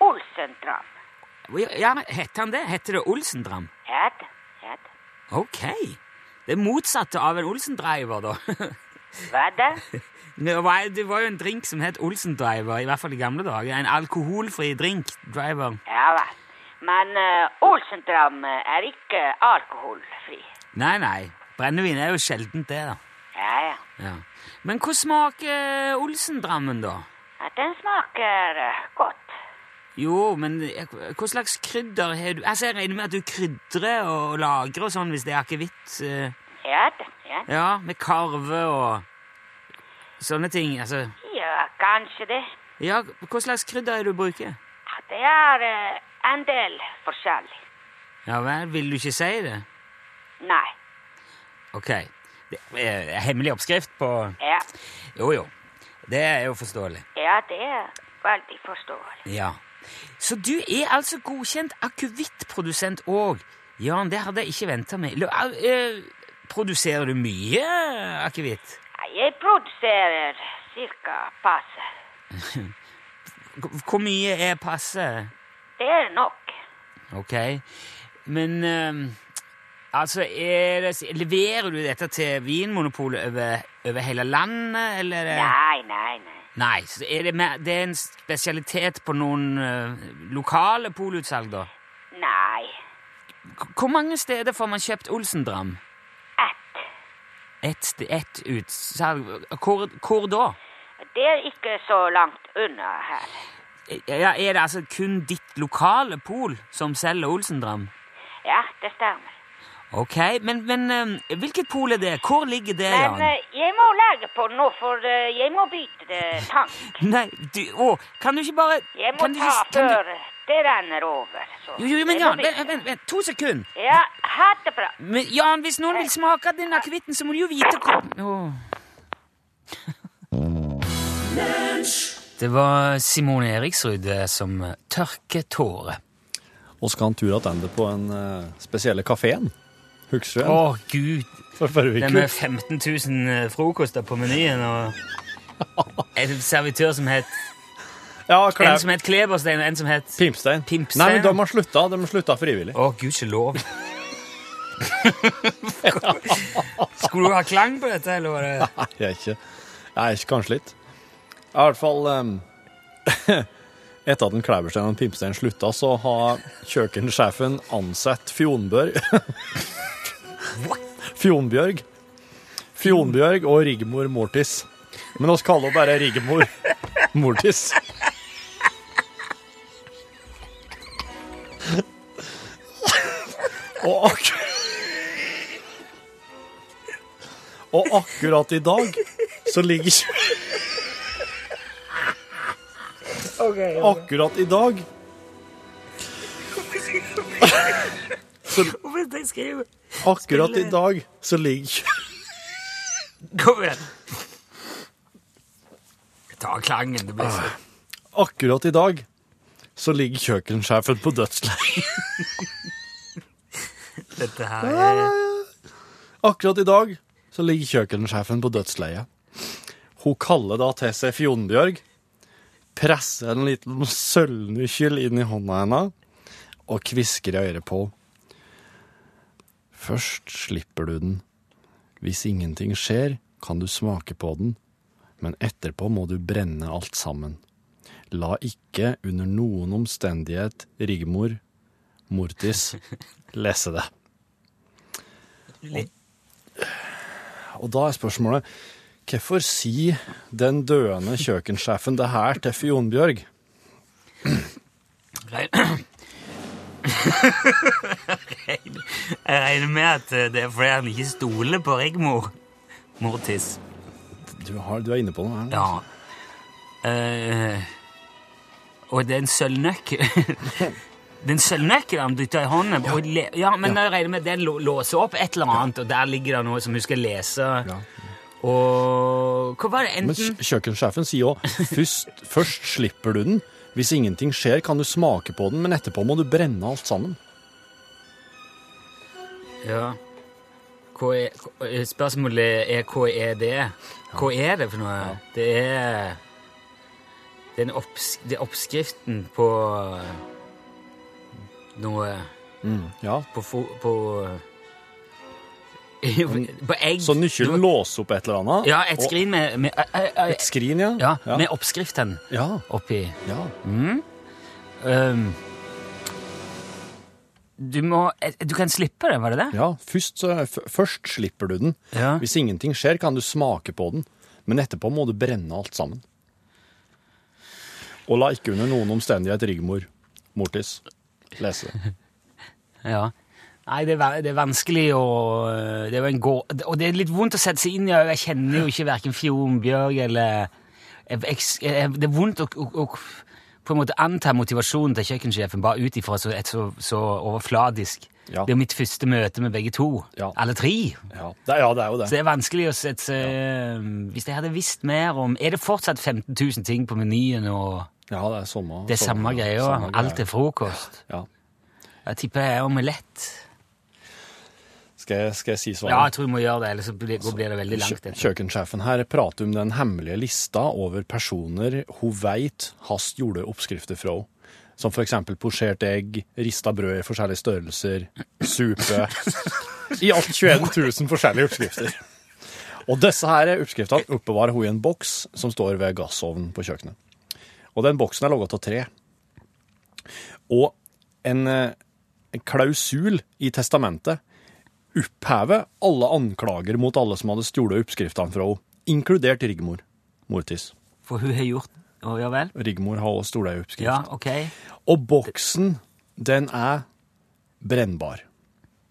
K: Olsendram.
G: Ja, men Heter han det? Heter det Olsendram?
K: Ja da. Ja da.
G: Ok. Det motsatte av en Olsendriver, da.
K: Hva da?
G: Det var- det var jo en drink som het Olsendriver, i hvert fall i gamle dager. En alkoholfri drink. Driver.
K: Ja vel. Men uh, Olsendram er ikke alkoholfri.
G: Nei, nei. Brennevin er jo sjeldent det, da.
K: Ja ja.
G: Ja. Men hva smaker eh, Olsendrammen, da?
K: Ja, Den smaker eh, godt.
G: Jo, men eh, hva slags krydder har du Altså, Jeg regner med at du krydrer og lagrer og sånn hvis det er akevitt. eh,
K: Ja da. Ja, da.
G: Ja, med karve og sånne ting. Altså
K: ja kanskje det.
G: Ja, hva slags krydder er det du bruker?
K: Ja, Det er eh, en del forskjellig.
G: Ja vel, vil du ikke si det?
K: Nei.
G: Ok. Det er en hemmelig oppskrift på
K: Ja,
G: Jo, jo. Det er jo forståelig.
K: ja det er veldig forståelig.
G: Ja. Så du er altså godkjent akevittprodusent òg. Jan, det hadde jeg ikke venta meg. Lo- au, eh, Produserer du mye akevitt?
K: Ja, Jeg produserer cirka passe.
G: Hvor hvor mye er passe?
K: Det er nok.
G: Ok. Men eh, Altså, er det, Leverer du dette til Vinmonopolet over, over hele landet, eller? er det-
K: Nei, nei, nei.
G: Nei, så er det, mer, det er en spesialitet på noen eh, lokale polutsalg, da?
K: Nei.
G: K- Hvor mange steder får man kjøpt Olsendram? Ett. Ett et utsalg? Hvor, hvor da?
K: Det er ikke så langt unna her.
G: Ja, er det altså kun ditt lokale pol som selger Olsendram?
K: Ja, det stemmer.
G: Ok, men, men eh, hvilket pol er det? Hvor ligger det,
K: Men
G: Jan?
K: eh, jeg må legge på nå, for eh, jeg må bytte eh, tank.
G: Nei, du, å, kan du ikke bare
K: Jeg må
G: kan du
K: ta
G: ikke- kan du-
K: før det renner over. Så.
G: Jo, jo, men
K: jeg må
G: Jan, vent,
K: bytte.
G: vent, vent, to sekunder.
K: Ja, ha det bra.
G: Men Jan, hvis noen vil smake av den akevitten, så må du jo vite hvor Åh. Det var Simone Eriksrud eh, som eh, tørket tårer.
A: Og skal han tur tilbake på den eh, spesielle kafeen? Husker du den?
G: Å, gud.
A: For forrige
G: Det
A: uke.
G: med 15 000 frokoster på menyen og en servitør som het
A: Ja, Klev-
G: En som het Kleberstein, og en som het
A: Pimpstein.
G: Pimpstein.
A: Nei, men de har slutta. De har slutta frivillig.
G: Å, gudskjelov. Skulle du ha klang på dette, eller var det
A: Nei, jeg er ikke Jeg er ikke kanskje litt. Jeg er I hvert fall em, Etter at en Klæberstein og en Pimpstein slutta, så har kjøkkensjefen ansatt Fjonbørg Fjonbjørg. Fjonbjørg og Rigmor Mortis. Men oss kaller henne bare Rigmor Mortis. Og akkurat Og akkurat i dag så ligger Akkurat i dag så,
G: Hvorfor er det jeg skriver?
A: Akkurat i
G: Spiller-
A: dag så ligger
G: Kom igjen. Ta klangen, det blir så
A: Akkurat i dag så ligger kjøkkensjefen på dødsleiet.
G: Dette her er
A: Akkurat i dag så ligger kjøkkensjefen på dødsleiet. Hun kaller da til seg Fjonbjørg, presser en liten sølvnykkel inn i hånda hennes og kvisker i øret på. Først slipper du den. Hvis ingenting skjer, kan du smake på den, men etterpå må du brenne alt sammen. La ikke under noen omstendighet Rigmor Mortis lese det. Og da er spørsmålet Hvorfor sier den døende kjøkkensjefen det her til Fjonbjørg?
G: Rein- Rein- Jeg regner med at eh, det er fordi han ikke stoler på Rigmor Mortis.
A: Du, har, du er inne på noe her. altså. nå.
G: Ja. Eh, og det er en sølvnøkkel Det er en sølvnøkkel han dytter i hånden. og le- Ja, men jeg regner med at den lå- låser opp et eller annet, og der ligger det noe som hun skal lese. Og Hva var det?
A: Men
G: Enten
A: kj- kjøkkensjefen sier òg først, først slipper du den. Hvis ingenting skjer, kan du smake på den, men etterpå må du brenne alt sammen.
G: Ja. Hva er, hva- spørsmålet er hva er det? Hva er det for noe? Det er det er, en opps, det er oppskriften på noe
A: ja.
G: Mm. På, fo, på eh, På egg.
A: Så nøkkelen låser opp et eller annet.
G: Ja, et
A: og-
G: skrin med, med eh, eh, eh,
A: Et skrin, ja.
G: ja, Med oppskriften
A: Ja.
G: oppi.
A: ja.
G: Mm. Um, du må eh, Du kan slippe det, var det det?
A: Ja, først, så- f- først slipper du den. Hvis ingenting skjer, kan du smake på den, men etterpå må du brenne alt sammen. Og la ikke under noen omstendighet Rigmor Mortis lese.
G: Ja. Nei, det er, va- det er vanskelig å eh, det er jo en gå- Og det er litt vondt å sette seg inn i. og Jeg kjenner jo ikke verken Fjorden, Bjørg eller jeg, jeg, jeg- Det er vondt å, å, å på en måte anta motivasjonen til kjøkkensjefen bare ut ifra så, et så, så overfladisk
A: Ja.
G: Det er jo mitt første møte med begge to. Alle tre.
A: Ja. Det, er- ja, det er jo
G: Så det
A: det.
G: er vanskelig å sette seg eh, Hvis jeg hadde visst mer om Er det fortsatt 15 000 ting på menyen, og
A: Ja, det er samme
G: det er samme greia?
A: samme
G: Alt
A: greia.
G: er frokost?
A: Ja.
G: Jeg tipper det er omelett.
A: Skal jeg, skal jeg Altså, si svaret?
G: Ja, jeg tror vi må gjøre det, ellers så blir, går- blir det veldig langt.
A: Kjø-
G: dette.
A: Kjøkkensjefen her prater om den hemmelige lista over personer hun veit hast gjorde oppskrifter fra. Som for eksempel posjert egg, rista brød i forskjellige størrelser, supe I alt 21 000 forskjellige oppskrifter. Og disse her oppskriftene oppbevarer hun i en boks som står ved gassovnen på kjøkkenet. Og den boksen er laget av tre. Og en, eh, en klausul i testamentet opphever alle anklager mot alle som hadde stjålet oppskriftene fra henne, inkludert Rigmor Mortis.
G: For hun har gjort Å, ja vel?
A: Rigmor har også stjålet oppskrift.
G: Ja, OK.
A: Og boksen, den er brennbar.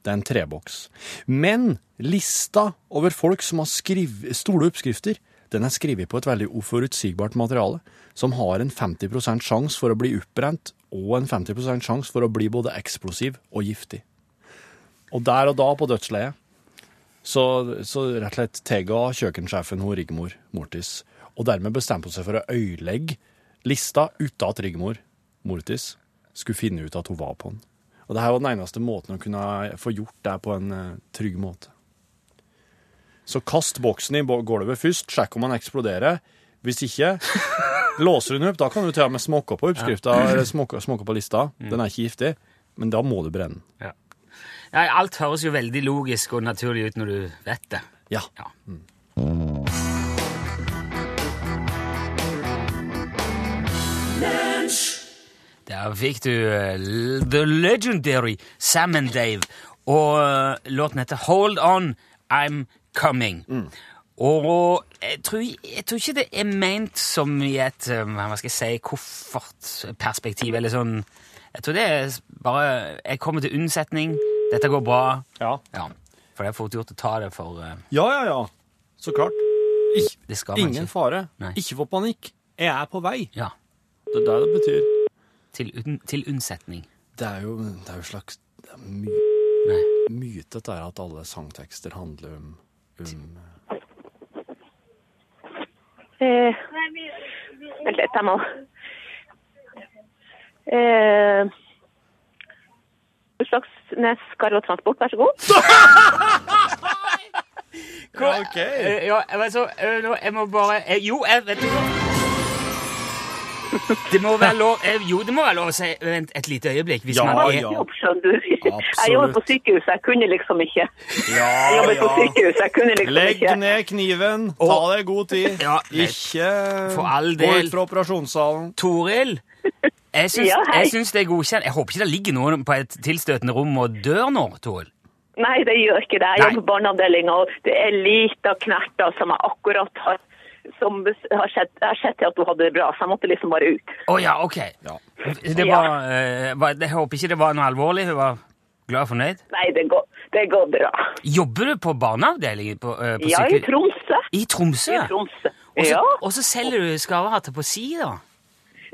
A: Det er en treboks. Men lista over folk som har skriv- store oppskrifter, den er skrevet på et veldig uforutsigbart materiale, som har en 50 sjanse for å bli oppbrent, og en 50 sjanse for å bli både eksplosiv og giftig. Og der og da, på dødsleiet, så, så rett og slett tega kjøkkensjefen hun Rigmor Mortis, og dermed bestemte hun seg for å øyelegge lista uten at Rigmor Mortis skulle finne ut at hun var på den. Og det her var den eneste måten hun kunne få gjort det på en eh, trygg måte. Så kast boksen i bo- gulvet først, sjekk om den eksploderer. Hvis ikke, låser du den opp. Da kan du til og med smokke på oppskrifta,
G: Ja.
A: eller smokke, smokke på lista. Den er ikke giftig, men da må du brenne den.
G: Nei, alt høres jo veldig logisk og naturlig ut når du vet det.
A: Ja. Mm.
G: Der fikk du eh, The Legendary Sam and Dave. Og eh, låten heter Hold On, I'm Coming.
A: Mm.
G: Og eh, jeg tror, jeg tror ikke det er ment som i et eh, hva skal jeg si, koffertperspektiv eller sånn. Jeg tror det er bare Jeg kommer til unnsetning. Dette går bra.
A: Ja.
G: For det er fort gjort å ta det for eh,
A: Ja, ja, ja. Så klart. Ik
G: Det skal man
A: ingen
G: ikke.
A: fare.
G: Nei.
A: Ikke få panikk. Jeg er på vei.
G: Ja.
A: Det er det det betyr.
G: Til, un til unnsetning.
A: Det er jo, det er jo slags det er my myte dette her at alle sangtekster handler om, om
L: Eh, vent litt, jeg må eh, Utslagsnes Karl og Transport, vær så god.
G: Hva- Eh, Ja, altså, eh, nå, jeg må bare eh, Jo, jeg vet du hva det må være lov eh, Jo, det må være lov å si Vent et lite øyeblikk. Hvis
L: Ja,
G: man er
L: ja. Jeg jobber på sykehus, jeg kunne liksom ikke.
A: Ja,
L: Jeg jobber på sykehus, jeg kunne liksom
A: Legg
L: ikke.
A: ned kniven, ta deg god tid.
G: Ja, vet-
A: ikke
G: For all
A: gå
G: del.
A: ut fra operasjonssalen.
G: Toril, jeg syns,
L: Ja, hei.
G: jeg syns det er godkjent. Jeg håper ikke det ligger noen på et tilstøtende rom og dør nå, Toril.
L: Nei, det gjør ikke det. Jeg jobber på barneavdelinga, og det er lite knerter som jeg akkurat har som bes- har sett, jeg har sett til at hun hadde det bra, så jeg måtte liksom bare ut.
G: Å ja, OK. Det var, eh, var, jeg håper ikke det var noe alvorlig. Hun var glad og fornøyd.
L: Nei, det går, det går bra.
G: Jobber du på barneavdelingen på, eh, på
L: Ja, i
G: sykehus?
L: Tromsø.
G: I Tromsø?
L: I Tromsø.
G: Og så-
L: Ja.
G: Og så selger du skarvehatter på si, da?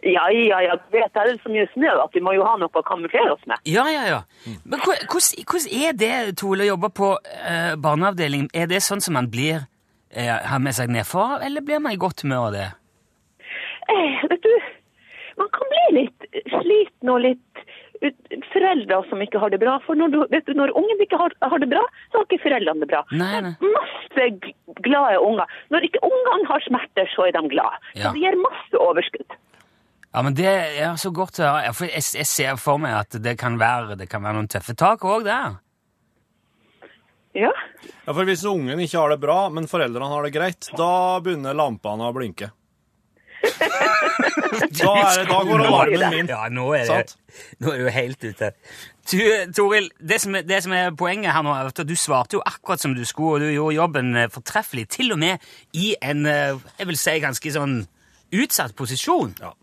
L: Ja, ja, ja. Du vet, det er så mye snø at vi må jo ha noe å kamuflere oss med.
G: Ja, ja, ja. Men hvor- hvordan hvordan er det, Tole, å jobbe på eh, barneavdelingen? Er det sånn som man blir eh, har med seg nedfor, eller blir man i godt humør av det?
L: Eh, vet du, man kan bli litt sliten og litt ut- foreldre som ikke har det bra. For når, du, vet du, når ungen ikke har, har det bra, så har ikke foreldrene det bra.
G: Nei, nei.
L: Det er masse g- glade unger. Når ikke ungene har smerter, så er de glade.
G: Ja.
L: Så det gir masse overskudd.
G: Ja, men det er så godt å høre. Ja, For jeg, jeg ser for meg at det kan være, det kan være noen tøffe tak òg der.
L: Ja.
A: Ja, for hvis ungen ikke har det bra, men foreldrene har det greit, da begynner lampene å blinke. Da, er det, da går alarmen min.
G: Ja, nå er det,
A: Sant?
G: nå er det jo helt ute. Du, Toril, det som, er, det som er poenget her nå, er at du svarte jo akkurat som du skulle, og du gjorde jobben eh, fortreffelig, til og med i en, eh, jeg vil si, ganske sånn utsatt posisjon.
A: Ja.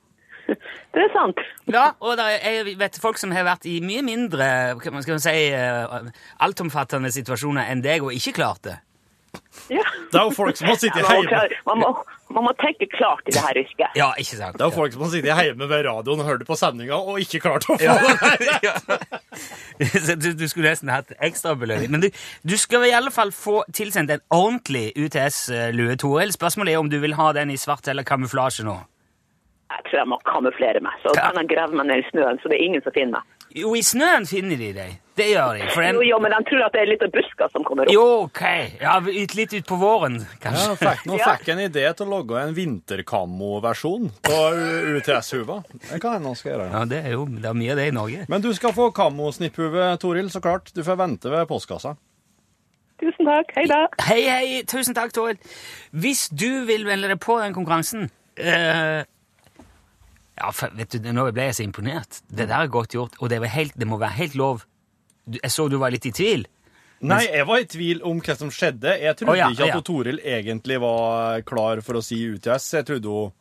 L: Det er sant.
G: Ja, og der, jeg vet folk som har vært i mye mindre, hva man skal man si, eh, altomfattende situasjoner enn deg, og ikke klart det.
L: Ja.
A: Det er jo folk som har sittet
L: Ja, man må
A: hjemme.
L: klare- Man, må- man må tenke klart i det her yrket.
G: Ja, ikke sant.
A: Det er jo folk som har sittet hjemme ved radioen og hørt på sendinga og ikke klart å få det her.
G: Så du, du skulle nesten hatt ekstrabelønning. Men du, du skal i alle fall få tilsendt en ordentlig UTS-lue, Toril. Spørsmålet er om du vil ha den i svart eller kamuflasje nå.
L: Jeg tror jeg må kamuflere meg, så kan jeg grave meg ned i snøen, så det er ingen som finner meg.
G: Jo, i snøen finner de deg. Det gjør de. For den,
L: Jo, jo, men de tror at det er litt av busker som kommer opp.
G: jo, OK. Ja, ut, litt ut på våren,
A: Ja,
G: kanskje.
A: fikk, nå fikk jeg en idé til å logge en vinterkammoversjon på UTS-huva. Det kan hende han skal gjøre.
G: Ja, det er jo det er mye av det i Norge.
A: Men du skal få kammosnipphue, Toril, så klart. Du får vente ved postkassa.
L: Tusen takk. Hei da.
G: Hei, hei. Tusen takk, Toril. Hvis du vil melde deg på den konkurransen eh, Ja, for, vet du, nå ble jeg så imponert. Det der er godt gjort, og det, var helt, det må være helt lov. Du, jeg så du var litt i tvil.
M: Nei, jeg var i tvil om hva som skjedde. Jeg trodde
G: Å, ja,
M: ikke at
G: ja.
M: hun Toril egentlig var klar for å si UTS. Jeg trodde hun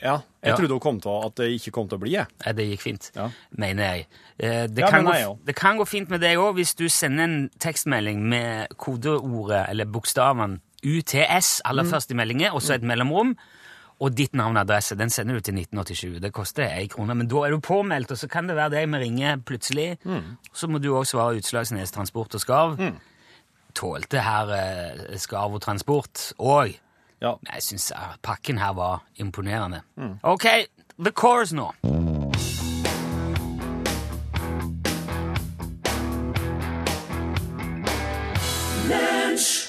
M: Ja, jeg
G: Ja.
M: trodde hun kom til å- at det ikke kom til å bli, jeg.
G: Ja, det gikk fint, mener jeg. Eh, det,
M: Ja,
G: kan
M: mener
G: gå,
M: jeg også.
G: det kan gå fint med deg òg hvis du sender en tekstmelding med kodeordet eller bokstaven UTS aller
N: Mm.
G: først i meldingen, og så et mellomrom. Og ditt navn og adresse. Den sender du til 1987. Det koster ei krone. Men da er du påmeldt, og så kan det være deg vi ringer plutselig. Så må du òg svare Utslagsnes Transport og Skarv.
N: Mm.
G: Tålte her eh, Skarv og Transport òg. Jeg syns eh, pakken her var imponerende.
N: Mm.
G: OK, the chorus nå.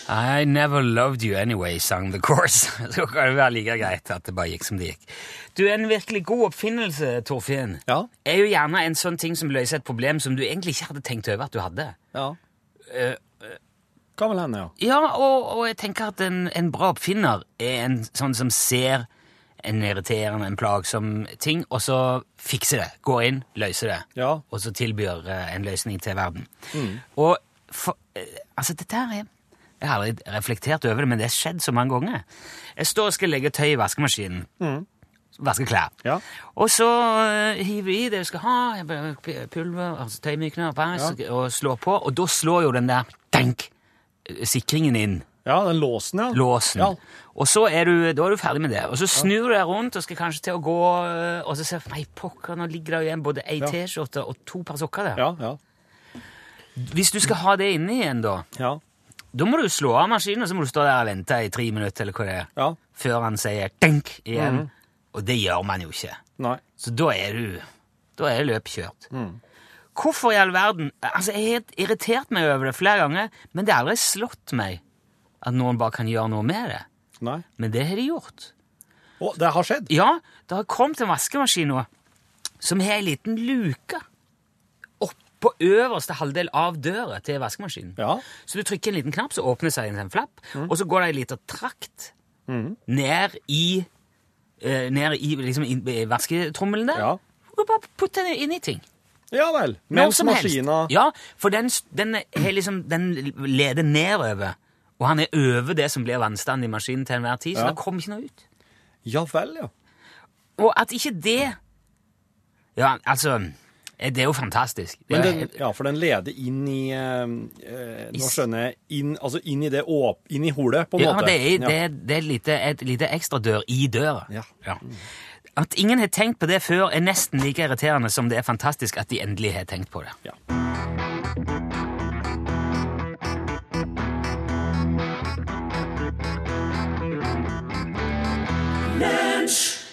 G: I never loved you anyway, sang the chorus. Så kan det være like greit at det bare gikk som det gikk. Du, en virkelig god oppfinnelse, Torfinn, er jo gjerne en sånn ting som løser et problem som du egentlig ikke hadde tenkt over at du hadde.
M: Ja.
G: Eh,
M: Kan vel hende, ja.
G: ja, og, og jeg tenker at en, en bra oppfinner er en sånn som ser en irriterende, en plagsom ting, og så fikser det. Går inn, løser det, og så tilbyr eh, en løsning til verden. Og for, eh, altså, dette her er Jeg har aldri reflektert over det, men det har skjedd så mange ganger. Jeg står og skal legge tøy i vaskemaskinen.
M: Mm.
G: Vaske klær. Og så eh, hiver jeg i det jeg skal ha, jeg bare p- pulver, altså tøymykner, pass, og slår på, og da slår jo den der denk, eh, sikringen inn.
M: Ja, den låsen, ja.
G: Låsen. Og så er du, da er du ferdig med det. Og så snur du deg rundt og skal kanskje til å gå, eh, og så ser du Nei, pokker, nå ligger det jo igjen både ei
M: Ja.
G: T-skjorte og to par sokker der.
M: Ja, ja.
G: Hvis du skal ha det inne igjen, da, da må du slå av maskinen, og så må du stå der og vente i tre minutter eller hva det er, før han sier denk igjen.
M: Mhm.
G: Og det gjør man jo ikke.
M: Nei. Mhm.
G: Så da er du Da er løpet kjørt. Hvorfor i all verden Altså, Jeg har helt irritert meg over det flere ganger, men det har aldri slått meg at noen bare kan gjøre noe med det.
M: Nei.
G: Men det har de gjort.
M: Å, det har skjedd?
G: Ja, det har kommet en vaskemaskin nå som har ei liten luke oppå øverste halvdel av døra til vaskemaskinen. Så du trykker en liten knapp, så åpner seg en sånn flapp,
M: Mm.
G: og så går det ei lita trakt ned i eh, Ned i, liksom, inn- i vasketrommelen der. Og bare putte den inn i ting.
M: Ja vel.
G: Når
M: Mens
G: som helst.
M: maskina
G: Ja, for den, s- den, er liksom, den leder nedover. Og han er over det som blir vannstanden i maskinen til enhver tid, så
M: Ja.
G: det kommer ikke noe ut.
M: Ja vel, ja.
G: Og at ikke det Ja, altså Det er jo fantastisk. Eh, Det
M: Men
G: er jo
M: den, ja, for den leder inn i eh, eh, Nå skjønner jeg inn, Altså inn i det åp... Inn i hullet, på en
G: ja,
M: måte.
G: Det er, det, er- det er et lite, et lite ekstradør i døra. Ja. At ingen har tenkt på det før, er nesten like irriterende som det er fantastisk at de endelig har tenkt på det.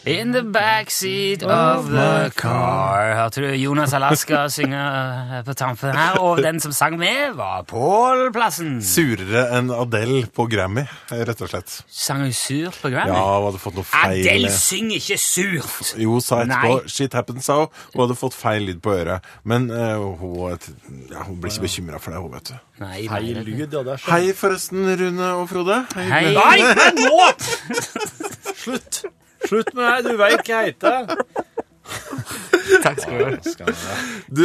G: In the backseat of the car Hørte du Jonas Alaska synge på tampen her, og den som sang med, var Pål Plassen.
O: Surere enn Adele på Grammy, rett og slett.
G: Sang hun sur på Grammy?
O: Ja, hun hadde fått noe feil
G: Adele synger ikke surt!
O: Jo, sa etterpå
G: Nei.
O: Shit happens, sa hun. Hun hadde fått feil lyd på øret. Men eh, hun, ja, hun blir ikke bekymra for det, hun, vet du.
G: Nei,
M: Feil lyd, ja. Det er
O: Hei, forresten, Rune og Frode.
M: Hei. Nei, men nå! Slutt. Slutt med det, du veit hva jeg heter.
G: Takk skal
O: du ha. Du,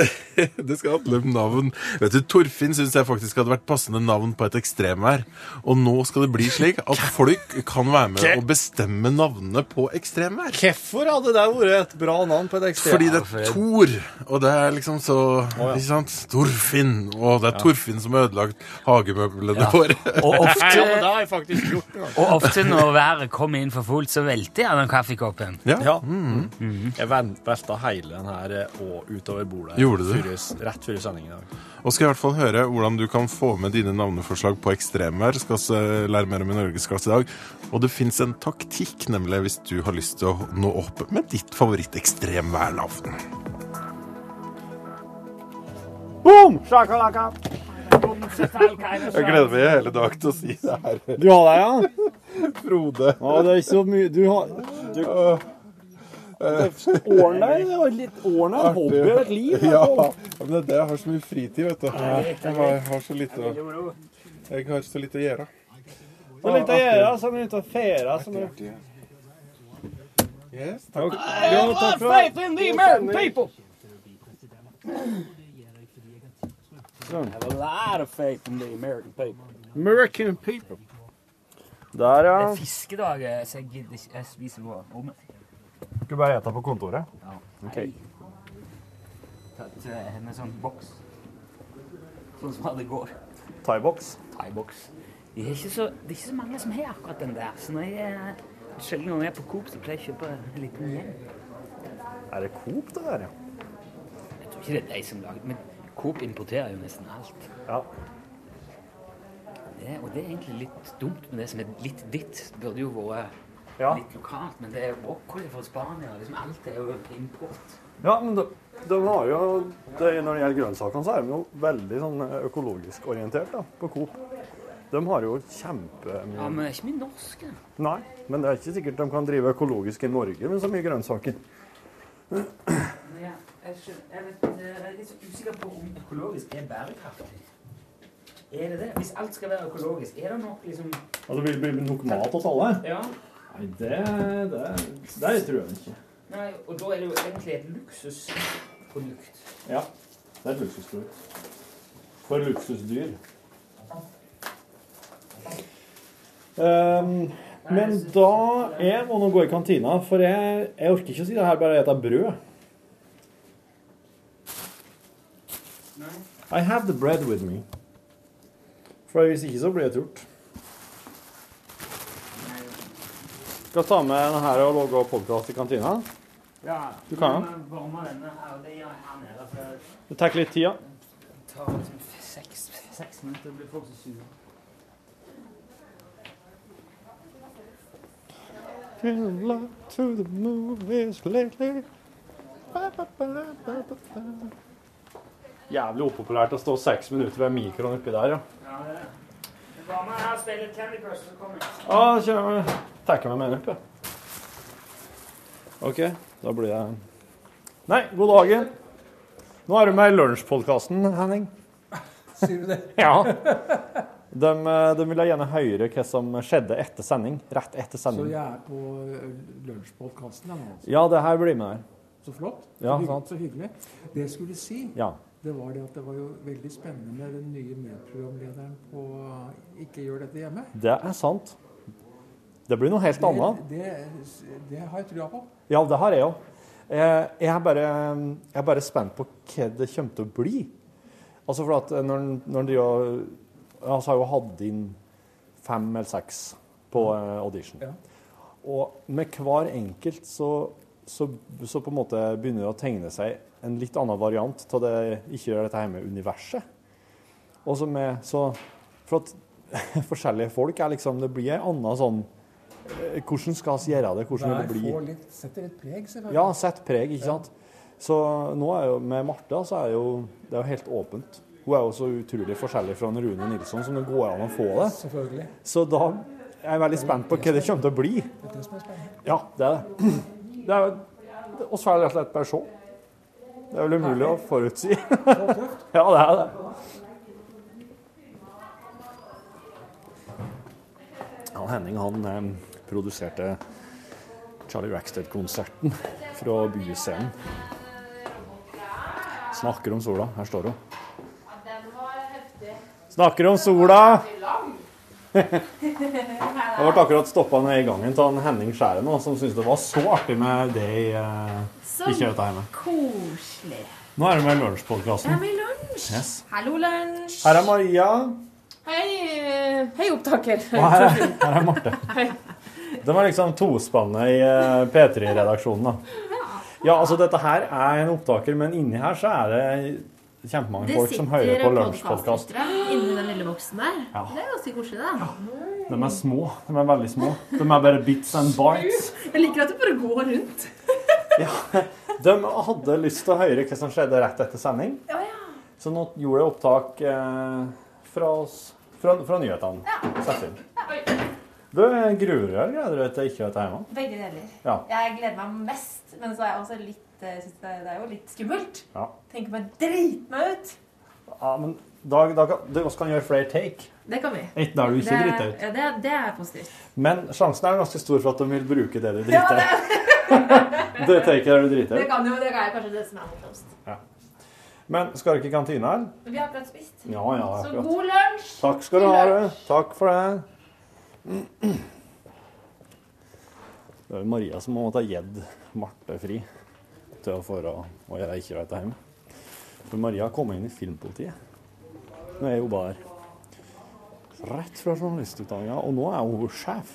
O: eh, det skal handle om navn. Vet du, Torfinn syns jeg faktisk hadde vært passende navn på et ekstremvær. Og nå skal det bli slik at folk kan være med og bestemme navnene på ekstremvær.
M: Hvorfor hadde det vært et bra navn på et ekstremt?
O: Fordi det er Tor, og det er liksom så Ikke sant? Torfinn. Og det er
M: Ja.
O: Torfinn som har ødelagt hagemøblene
G: Ja.
O: våre.
G: Og ofte-
M: Ja, men det har jeg faktisk gjort. ja.
G: Og ofte når været kommer inn for fullt, så velter jeg den kaffekoppen.
O: Ja.
A: Mm.
O: Mm.
M: Jeg ven- velta hele den her eh, og utover bordet.
O: Gjorde du?
M: Før- Rett før sendingen i dag.
O: Og skal i hvert fall høre hvordan du kan få med dine navneforslag på ekstremvær. Skal vi lære mer om i Norgesklasse i dag. Og det fins en taktikk, nemlig, hvis du har lyst til å nå opp med ditt favoritt-ekstremværnavn.
A: Boom! Shakalaka!
O: Jeg gleder meg i hele dag til å si det her.
A: Du har deg, ja?
O: Frode.
A: Ja, det er ikke så mye Du har du, Årene er jo litt- årene er en hobby og et liv. da,
O: Ja,
A: Pål.
O: men det er det jeg har så mye fritid, vet du. Jeg har, har så lite å Jeg har så lite å gjøre.
A: Så litt å gjøre, altså. så er vi ute og feire. Så nå-
O: Yes,
A: takk.
B: I love faith in the American people!
A: Sånn.
N: I have a lot of faith in the American people.
A: American people. Der, ja.
G: Det er fiskedag, så jeg gidder ikke jeg spiser på rommet.
A: Skal du bare ete på kontoret?
G: Ja.
A: Ok.
G: Tatt eh, med sånn boks. Sånn som alle går.
A: Thaiboks.
G: Thaiboks. Det er, ikke så, det er ikke så mange som har akkurat den der, så når jeg eh, sjelden når jeg er på Coop, så pleier jeg å kjøpe en liten gjeng.
A: Er det Coop, det der, ja?
G: Jeg tror ikke det er de som lager Men Coop importerer jo nesten alt.
A: Ja.
G: Det, og det er egentlig litt dumt med det som er litt ditt. Det burde jo vært litt lokalt, men det er broccoli fra Spania. Liksom alt er jo import.
A: Ja, men de, de har jo det, Når det gjelder grønnsakene, så er de jo veldig sånn økologisk orientert da, på Coop. De har jo kjempemye
G: Ja, men det er ikke mye norske.
A: Nei, men det er ikke sikkert de kan drive økologisk i Norge med så mye grønnsaker.
G: Men jeg, jeg, skjønner- jeg, vet, eh, jeg er litt så usikker på om økologisk er bærekraftig. Er det det? Hvis alt skal være økologisk, er det nok liksom
A: Altså, Vil det bli nok mat til alle?
G: Ja.
A: Nei, det, det, det tror jeg ikke.
G: Nei, og da er det jo egentlig et luksusprodukt.
A: Ja. Det er et luksusprodukt. For luksusdyr. Ehm, men da Jeg må nå gå i kantina, for jeg, jeg orker ikke å si det her bare spise brød. I have the bread with me. For hvis ikke så blir jeg turt. Skal ta med denne her og logge opp podkast i kantina.
G: Ja.
A: Du kan jo.
G: Varme denne her, og det gjør jeg her nede. For det
A: Det tar litt tid, ja.
G: tar liksom seks, seks minutter, og blir folk så sure.
A: Been love to the movies lately. Jævlig upopulært å stå seks minutter ved mikroen oppi der, ja.
G: Ja, det er det. Varme her, spiller Candy Crush, så kommer jeg.
A: Ja, da kjører vi. Takker meg med en opp, ja. OK, da blir jeg Nei, god dagen. Nå er du med i lunsjpodkasten, Henning.
P: Sier du det?
A: Ja. De, eh, de ville gjerne høre hva som skjedde etter sending. Rett etter
P: Så
A: sending.
P: jeg er på eh, lunsjpodkasten jeg nå. altså.
A: Ja, det her blir med her.
P: Så flott. Så,
A: Ja,
P: hygg-
A: sant.
P: så hyggelig. Det jeg skulle si,
A: Ja.
P: det var det at det var jo veldig spennende med den nye medprogramlederen på eh, Ikke gjør dette hjemme.
A: Det er sant. Det blir noe helt annet.
P: Det, det, det har jeg trua på.
A: Ja, det har jeg òg. Jeg er bare, jeg er bare spent på hva det kommer til å bli. Altså for at når, en- når en driver og- altså har jo hatt inn fem eller seks på eh, audition. Og med hver enkelt så, så, så på en måte begynner det å tegne seg en litt annen variant av det ikke gjør dette her med universet. Og så med så For at forskjellige folk er liksom Det blir en annen sånn eh, Hvordan skal vi gjøre det? Hvordan vil det bli?
P: får litt, setter et preg, selvfølgelig.
A: Ja, sett preg, ikke sant? Så nå er jo med Martha, så er jo, det er jo helt åpent. Hun er jo så utrolig forskjellig fra en Rune Nilsson som det går an å få det.
P: Selvfølgelig.
A: Så da er jeg veldig spent på hva det kommer til å bli.
P: Det er det som er spennende.
A: Ja, det er det. Det er jo det- oss får rett og slett bare se. Det er vel umulig å forutsi. Ja, det er det. Ja, Henning han eh, produserte Charlie Rackstead-konserten fra Byscenen. Snakker om sola. Her står hun. Snakker om sola! Jeg ble akkurat stoppa ned i gangen av Henning Skjæren, nå, som syntes det var så artig med det i eh,
Q: Så
A: Ikke dette hjemme.
Q: koselig.
A: Nå er det med
Q: Det er
A: lunsjpodkasten.
Q: med lunsj.
A: Yes.
Q: Hallo, lunsj.
A: Her er Maria,
Q: Hei, eh, hei opptaker.
A: og her er, her er Marte.
Q: Hei.
A: De er liksom tospannet i eh, P3-redaksjonen, da. Ja, altså dette her er en opptaker, men inni her så er det kjempemange folk som hører på lunsjpodkast.
Q: podcastlyttere inni den lille boksen der.
A: Ja.
Q: Det er ganske koselig, da.
A: De er små. De er veldig små. De er bare bits and bites.
Q: Jeg liker at du bare går rundt.
A: De hadde lyst til å høre hva som skjedde rett etter sending. Så nå gjorde jeg opptak eh, fra, oss, fra, fra nyhetene. Sett inn. Du jeg gruer deg gleder du deg til ikke å være hjemme?
R: Begge deler.
A: Ja.
R: Jeg gleder meg mest, men så er jeg også litt eh, synes det, det er jo litt skummelt.
A: Ja.
R: Tenker meg dritmeg ut.
A: ja, men Da, da, kan- det også kan gjøre flere take.
Q: Det kan vi.
A: Enten er du ikke
Q: Det-
A: drita ut.
Q: Ja, det, det er positivt.
A: Men sjansen er ganske stor for at de vil bruke det du driter ut. det taket er du driter
Q: Det
A: ut.
Q: kan jo, det er kanskje det som er morsomst.
A: Men skal dere i kantina, eller?
Q: Men Vi har akkurat spist.
A: Ja, ja,
Q: Så
A: akkurat.
Q: god lunsj!
A: Takk skal du ha. du. Takk for det. Det er jo Maria som har måttet ha gitt Marte fri til å få å å gjøre ikke right hjemme. For Maria kom inn i filmpolitiet. Nå er hun bare rett fra journalistutdanninga, og nå er hun sjef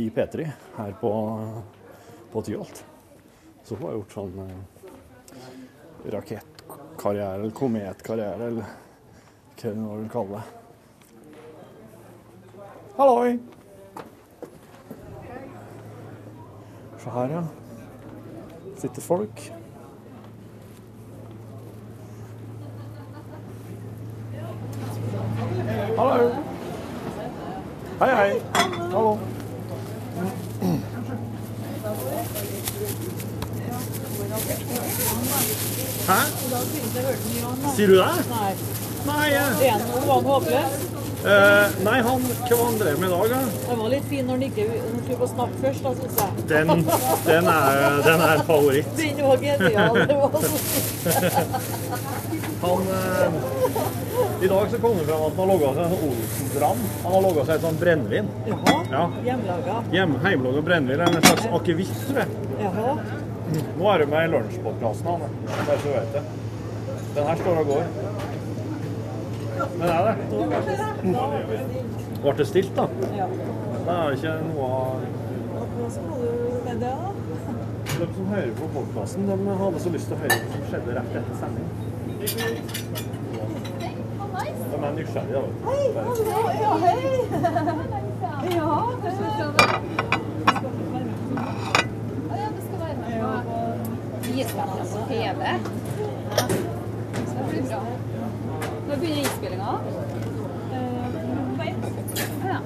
A: i P3 her på, på Tyholt. Så hun har gjort sånn eh, rakettkarriere eller kometkarriere eller hva du nå vil kalle det. Halloi! Se her, ja. Sitter folk. Hallo. Hei, hei. Hallo. Hæ? Sier du det?
B: Nei.
A: Nei,
B: Det ene hun var håpløs.
A: Eh, nei, han, hva var han drev med i dag, da?
B: Den var litt fin når den ikke hun skulle få snakke først, da, synes jeg.
A: Den, den, er, den er en favoritt.
B: Den var genial. Det var så
A: Han, eh, I dag så kom det fram at han har logga seg en sånn Olsen-dram. Han har logga seg et sånt brennevin. Ja.
B: hjemmelaga.
A: Hjem, Heimelaga brennevin er en slags akevitt, tror jeg.
B: Jaha.
A: Nå er du med i lunsjpodkasten hans, bare så du vet det. Den her står og går. Den er det. Ble det stilt, da?
B: Ja.
A: Det er jo ikke noe av
B: Hva skal du med det, da?
A: De som hører på podkasten, de hadde så lyst til å høre hva som skjedde rett etter sending. De er nysgjerrige, da. vet du.
B: Ja, hei. Ja,
S: Nå begynner innspillinga. Ja.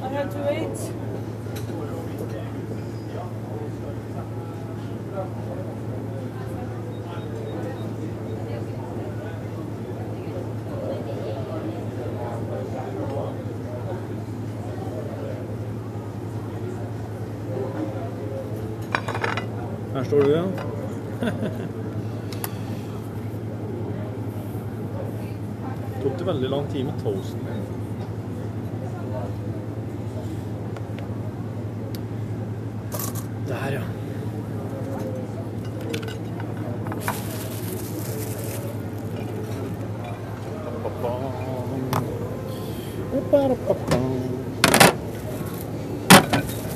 B: I had to wait.
A: Her står du, ja. Tok det veldig lang tid med toasten. Der, ja.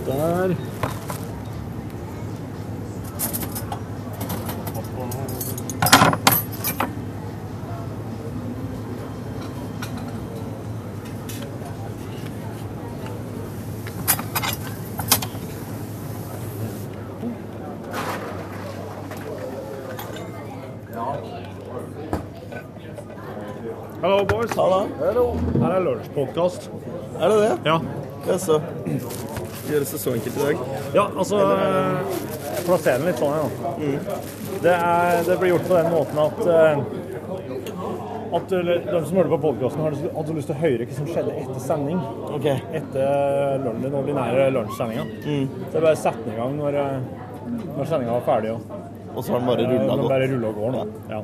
A: Der. Hallo, boys. Her er lunsjpodkast.
T: Er det det?
A: Ja.
T: Jaså. Gjøres det så enkelt i dag?
A: Ja, altså eh, Plasser den litt sånn, ja.
T: Mm.
A: Det, er, det blir gjort på den måten at eh, at du- de som hører på podkasten, har lyst- hadde lyst til å høre hva som skjedde etter sending. Etter lun- den ordinære lunsjsendinga.
T: Mm.
A: Så jeg bare setter den i gang når, eh, når sendinga var ferdig. Og,
T: Og så har den bare
A: Eh,
T: rullet og gått.
A: bare rullet og går nå. Ja.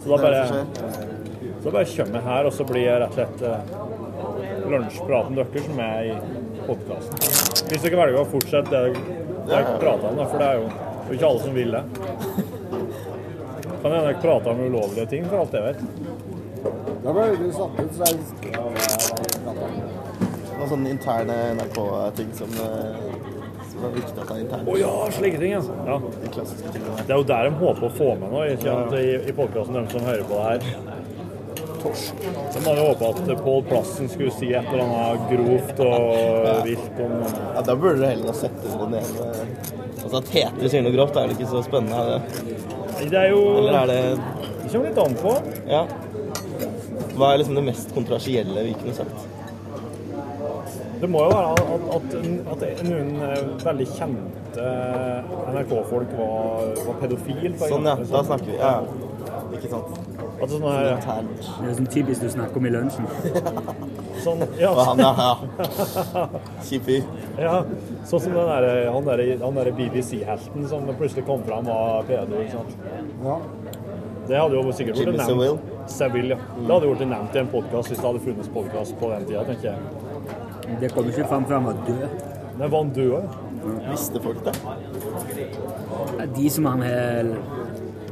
A: Så
T: Det
A: da
T: er
A: bare,
T: det som
A: så bare kommer jeg her, og så blir jeg rett og slett eh, lunsjpraten deres som er i podkasten. Hvis dere velger å fortsette det dere
T: Ja, ja.
A: prater om, da, for det er jo det er jo ikke alle som vil det. Kan hende dere prater om ulovlige ting, for alt jeg vet.
U: Da ble vi satt ut, så jeg
T: Det var sånne interne NRK-ting som, eh, som var viktig at det er internt.
A: Å ja, slike ting, altså. Ja.
T: De klassiske tingene.
A: Det er jo der de håper å få med noe ikke sant, i, i podkasten, de som hører på det her. Torsk. De hadde håpa at Pål Plassen skulle si et eller annet grovt og vilt om
T: Ja, Da burde det heller sette det ned Altså At Tete sier noe grovt, er det ikke så spennende? Er det?
A: Det er jo
T: Eller er det
A: Det kommer litt an på.
T: Ja. Hva er liksom det mest kontroversielle vi kunne sagt?
A: Det må jo være at, at, at noen eh, veldig kjente eh, NRK-folk var, var pedofil. for
T: Sånn, ja.
A: eksempel.
T: Da snakker vi. Ja. Ikke sant?
A: At sånn her,
G: Det er jo sånn typisk du snakker om i lunsjen.
A: Sånn, ja.
T: Og han, ja,
A: Ja, sånn som den der, han der, han der BBC-helten som plutselig kom fram var pedo. ikke sant? Det hadde jo sikkert
T: Jimmy
A: vært nevnt.
T: Savile. Mm.
A: Savile, ja. Det hadde jo vært nevnt i en podkast hvis det hadde funnes podkast på den tida, tenker jeg.
G: Det kom ikke fram før han var død.
A: Nei, var han død?
T: Visste folk det?
G: Ja, De som han har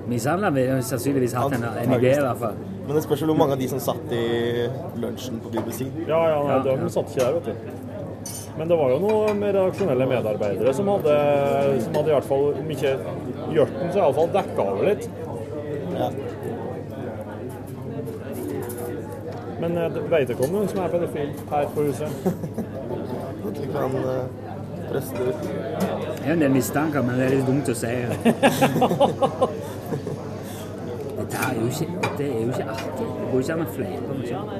G: mishandla, vil jo sannsynligvis hatt en, en idé, i hvert fall.
T: Men det spørs vel hvor mange av de som satt i lunsjen på BBC.
A: Ja, ja, nei, de satt ikke der, vet du. Men det var jo noen redaksjonelle medarbeidere som hadde, som hadde i hvert fall, om ikke hjørten, så iallfall dekka over litt. Men eh, vet dere om noen som er pedofil her på huset?
T: Ikke kan eh, presse det ut.
G: Det er jo en del mistanker, men det er litt dumt å si. Dette er jo ikke, det er jo ikke artig. Det går ikke an å fleipe med sånt.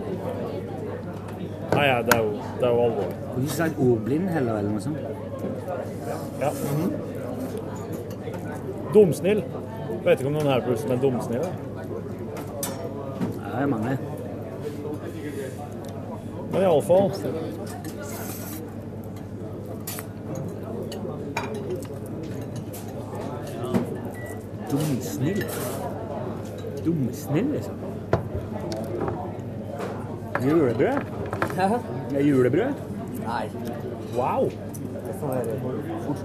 A: Nei, ja, det er jo, det er jo alvorlig.
G: Du kunne ikke sagt ordblind heller, eller noe sånt.
A: Ja. Dumsnill. Vet ikke om noen her på huset er dumsnill.
G: Ja, det er mange.
A: Men iallfall
G: Dumsnill. Dumsnill, liksom. Julebrød? Hæ? Ja, julebrød? Nei.
A: Wow!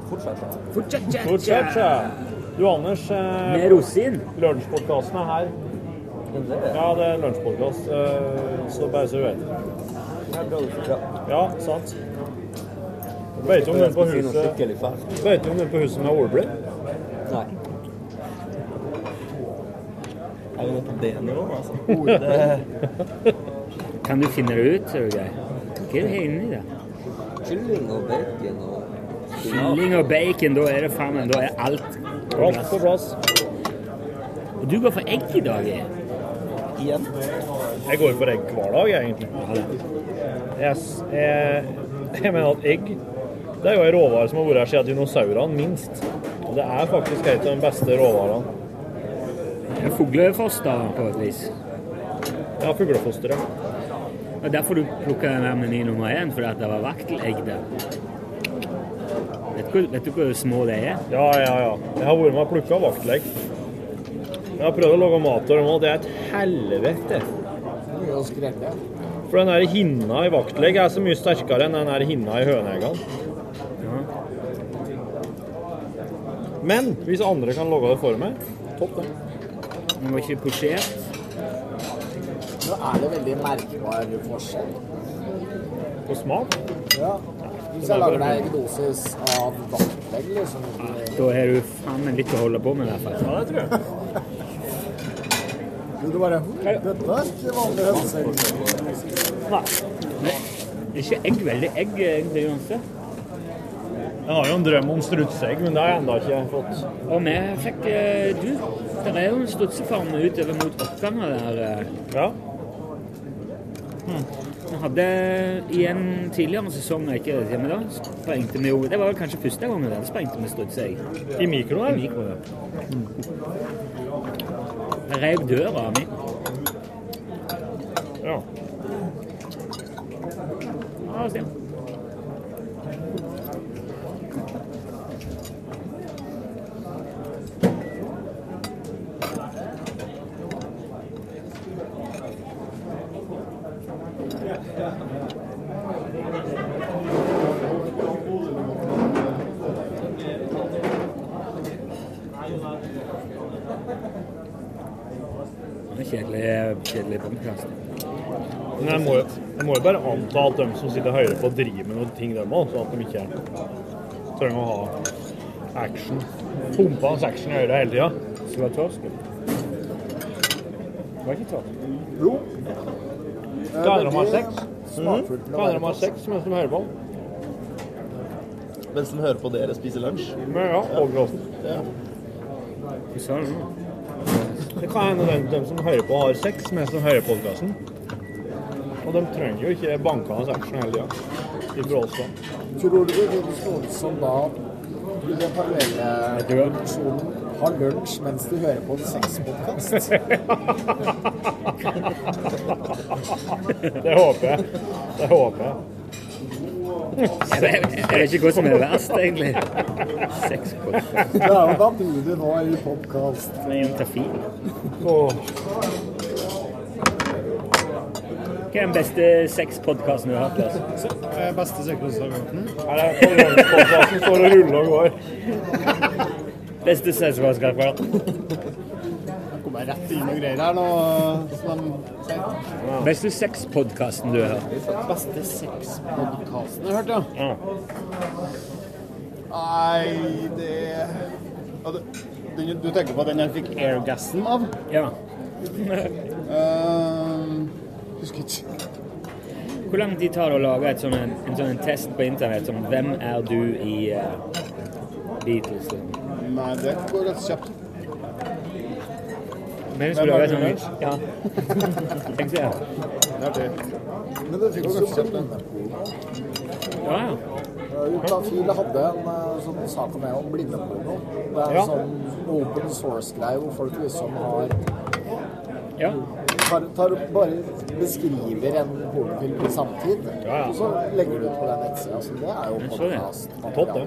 G: Fortsett, ja, ja.
A: Fortsett, ja. Du, Anders eh,
G: Med rosin.
A: Lunsjpodkasten er her. Ja, det er lunsjpodkast. eh, Så bare så du vet. Ja, sant. Vet du om den på huset Vet du om den på huset med ordblind?
T: Nei. Er vi nå på det nivået, altså?
A: Oh,
T: Ordet
G: Kan du finne det ut, tror jeg? Hva er det inni det?
S: Kylling og bacon og
G: Kylling og bacon, da er det faen meg Da er alt
A: Alt på plass.
G: Og du går for egg i dag, jeg.
T: Igjen?
A: Jeg går for egg hver dag, jeg, egentlig. Jeg, s- jeg, jeg mener at egg det er jo en råvare som har vært her siden dinosaurene, minst. Og det er faktisk en av de beste råvarene.
G: Det er Fuglefoster, på et vis.
A: Ja, fuglefoster, ja.
G: Og derfor du plukka den der meny nummer én, fordi at det var vaktelegg der. Vet du, hvor- vet du hvor små det er?
A: Ja, ja, ja. Jeg har vært med og plukka vaktlegg. Jeg har prøvd å lage mat av dem òg. Det er et helvete. For den der hinna i vaktlegg er så mye sterkere enn den der hinna i høneeggene. Men hvis andre kan lage det for meg, topp det.
G: Den var ikke posjert.
S: Nå er det veldig merkbar forskjell.
A: På smak?
S: Ja. Hvis jeg lager deg en dosis av vaktlegg, liksom
G: Da har du faen meg litt å holde på med, i hvert fall.
A: Ja, det tror jeg.
S: Du du bare «Hm, Dette er ikke vanlig hønseegg.
G: Nei. Ikke egg, veldig egg, egentlig, uansett.
A: Jeg har jo en drøm om strutseegg, men det har jeg ennå ikke fått.
G: Og vi fikk eh, Du, det er jo en strutsefarm utover mot Åkane der. eh. Hm.
A: Ja.
G: Vi hadde i en tidligere sesong jeg ikke vet hvem det var, sprengte vi jo Det var vel kanskje første gangen den sprengte med strutseegg.
A: I mikroen?
G: I mikroen, ja. Jeg rev døra mi.
A: Ja.
G: Ja, stemmer. Det er Kjedelig, kjedelig podcast.
A: Men jeg må, jo- jeg må jo bare anta at de som sitter høyere på, driver med noen ting, de òg. Så at de ikke trenger å ha action. Pumpa hans action i øret hele tida. Skal være tørst. Var ikke tørst. Jo. Hva er det de har sex?
Q: Smakfullt
A: Hva er det de har sex mens de hører på?
Q: Mens de hører på dere spise lunsj?
A: Men ja, overgråten.
Q: Ja.
A: Det kan hende dem, dem som hører på, har sex mens de hører podkasten. Og de trenger jo ikke bankende action hele tida. I Bråstad.
V: Tror du det finnes noen som da i den parallelle produksjonen har lunsj mens de hører på en sexpodkast?
A: Det håper jeg. Det håper jeg.
G: Jeg vet- jeg vet ikke hva som er verst, egentlig. Seks podkast.
V: Ja, og da blir du nå i podkast.
G: Hva er den beste sexpodkasten du har hørt? Lars?
J: eh, Beste sexpodkasten?
G: Ja, det er konkurransepodcasten står og ruller og går. Beste sexpodkasten jeg har
J: Kommer jeg rett inn og greier her nå, som de sier.
G: hørt. Beste sexpodkasten du har hørt.
J: Beste sexpodkasten jeg har hørt, ja. Ah, Nei, det Ja, du, den- du tenker på den jeg fikk airgasm av?
G: Ja.
J: Ehm, husker ikke.
G: Hvor lang tid tar det å lage et sånn, en, en sånn en test på internett som 'Hvem er du i eh, Beatles?' liksom?
J: Nei, det går ganske kjapt.
G: Men vi
J: Hvem
G: skulle lage
J: er
G: et
J: du,
G: sånt
J: Lars?
G: Ja. Tenk så, ja.
J: Det er artig.
V: Men det finnes jo på
G: Ja,
V: Eh,
G: ja.
V: Utafile hadde en eh, sånn sak om det om blindeporno. Det er en
G: Ja.
V: sånn open source-greie hvor folk liksom har
G: Ja.
V: Bare, tar, bare beskriver en liksom. pornofilm i samtid,
G: ja.
V: og så legger du ut på den nettsida.
J: altså.
V: Så det er jo
G: Jeg så det.
V: podkast.
G: Topp,